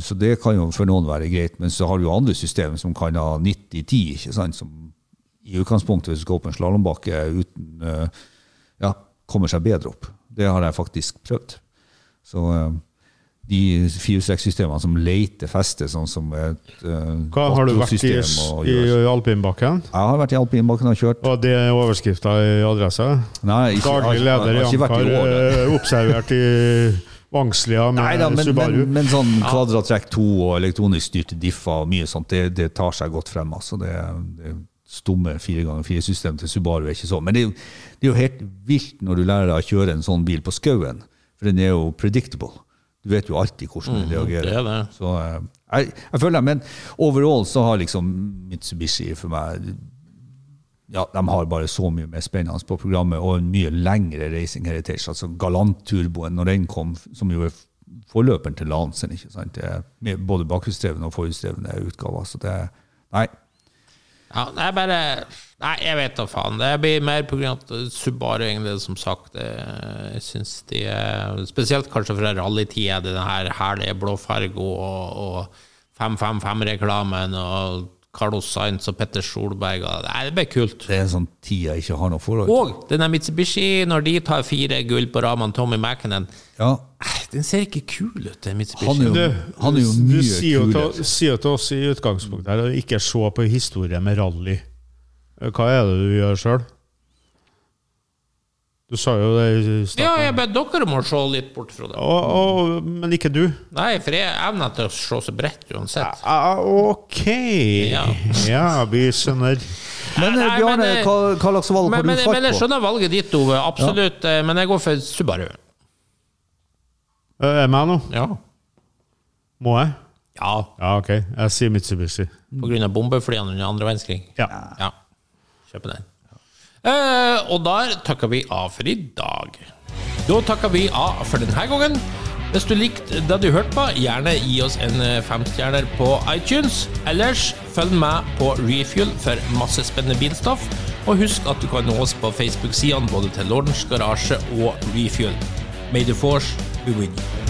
Speaker 3: Så det kan jo for noen være greit, men så har du jo andre systemer som kan ha 90-10, ikke sant, som i utgangspunktet hvis du skal opp en slalåmbakke uten eh, Ja, kommer seg bedre opp. Det har jeg faktisk prøvd. Så eh, de firehjulstrekksystemene som leter feste, sånn som et uh,
Speaker 4: Hva har du vært i, i alpinbakken?
Speaker 3: Jeg har vært i alpinbakken og kjørt.
Speaker 4: Og det er overskrifta i adressa?
Speaker 3: Nei, ikke,
Speaker 4: Daglig
Speaker 3: jeg har-
Speaker 4: leder i
Speaker 3: jeg har ikke vært
Speaker 4: Ankar,
Speaker 3: i år. da.
Speaker 4: eh, observert i Vangslia med
Speaker 3: Nei da, men, men,
Speaker 4: Subaru.
Speaker 3: men sånn kvadratrekk 2 og elektronisk styrte differ og mye sånt, det, det tar seg godt frem. Altså. Det, det stumme 4x4-system til Subaru er ikke sånn. Men det, er jo- det er jo helt vilt når du lærer deg å kjøre en sånn bil på skauen, for den er jo predictable. Du vet jo alltid hvordan den reagerer.
Speaker 1: Mm, det er det.
Speaker 3: Så eh, jeg, jeg føler det. Men overall så har liksom Mitsubishi for meg ja, De har bare så mye mer spennende på programmet og en mye lengre Racing Heritage. altså Galant-turboen, når den kom, som jo er forløperen til Lancen, ikke sant? Det er med både bakhjulsdrevne og forhjulsdrevne utgaver. så det Nei.
Speaker 1: Ja, det er bare Nei, jeg vet da faen. Det blir mer på grunn av at Subaru, egentlig, som sagt. eh, Jeg syns de er Spesielt kanskje fra rallytida, den her herlige blåfarga og, og 555-reklamen og Carlos Sainz og Petter Solberg og Nei, det blir kult.
Speaker 3: Det er en sånn tid jeg ikke har noe forhold til.
Speaker 1: Og denne Mitsubishi, når de tar fire gull på Raman Tommy Mackinen
Speaker 3: Ja,
Speaker 1: eh, Den ser ikke kul ut, den Mitsubishi.
Speaker 3: han er jo, han er jo
Speaker 4: du
Speaker 3: mye
Speaker 4: sier jo
Speaker 3: kulere.
Speaker 4: til, sier jo til oss i utgangspunktet her å ikke se på Eh, historie med rally. Hva er det du gjør sjøl? Du sa jo det i starten.
Speaker 1: Ja, jeg ber dere om å se litt bort fra det.
Speaker 4: Å, å, men ikke du.
Speaker 1: Nei, for jeg evner til å se så bredt uansett.
Speaker 4: Ah, ok. Ja.
Speaker 1: Ja.
Speaker 4: vi skjønner.
Speaker 3: Men eh,
Speaker 1: Nei,
Speaker 3: Bjarne,
Speaker 1: men, eh,
Speaker 3: hva, hva slags valg
Speaker 1: Men, men,
Speaker 3: har du
Speaker 1: men jeg
Speaker 3: fart på?
Speaker 1: skjønner valget ditt, Ove. Absolutt. eh, Men jeg går for Subaru.
Speaker 4: Eh, Er jeg meg nå?
Speaker 1: Ja.
Speaker 4: Må jeg?
Speaker 1: ja
Speaker 4: Ja, ok. Jeg sier Mitsubishi.
Speaker 1: på grunn av bombeflyene under andre verdenskrig.
Speaker 4: Ja.
Speaker 1: Ja. Kjøpe den. Eh, og der takker vi av for i dag. Da takker vi av for denne gangen. Hvis du likte det du hørte på, gjerne gi oss en eh, femstjerner på iTunes. Ellers følg med på Refuel for masse spennende bilstoff. Og husk at du kan nå oss på Facebook-sidene både til Lordens Garasje og Refuel. May the force be with you.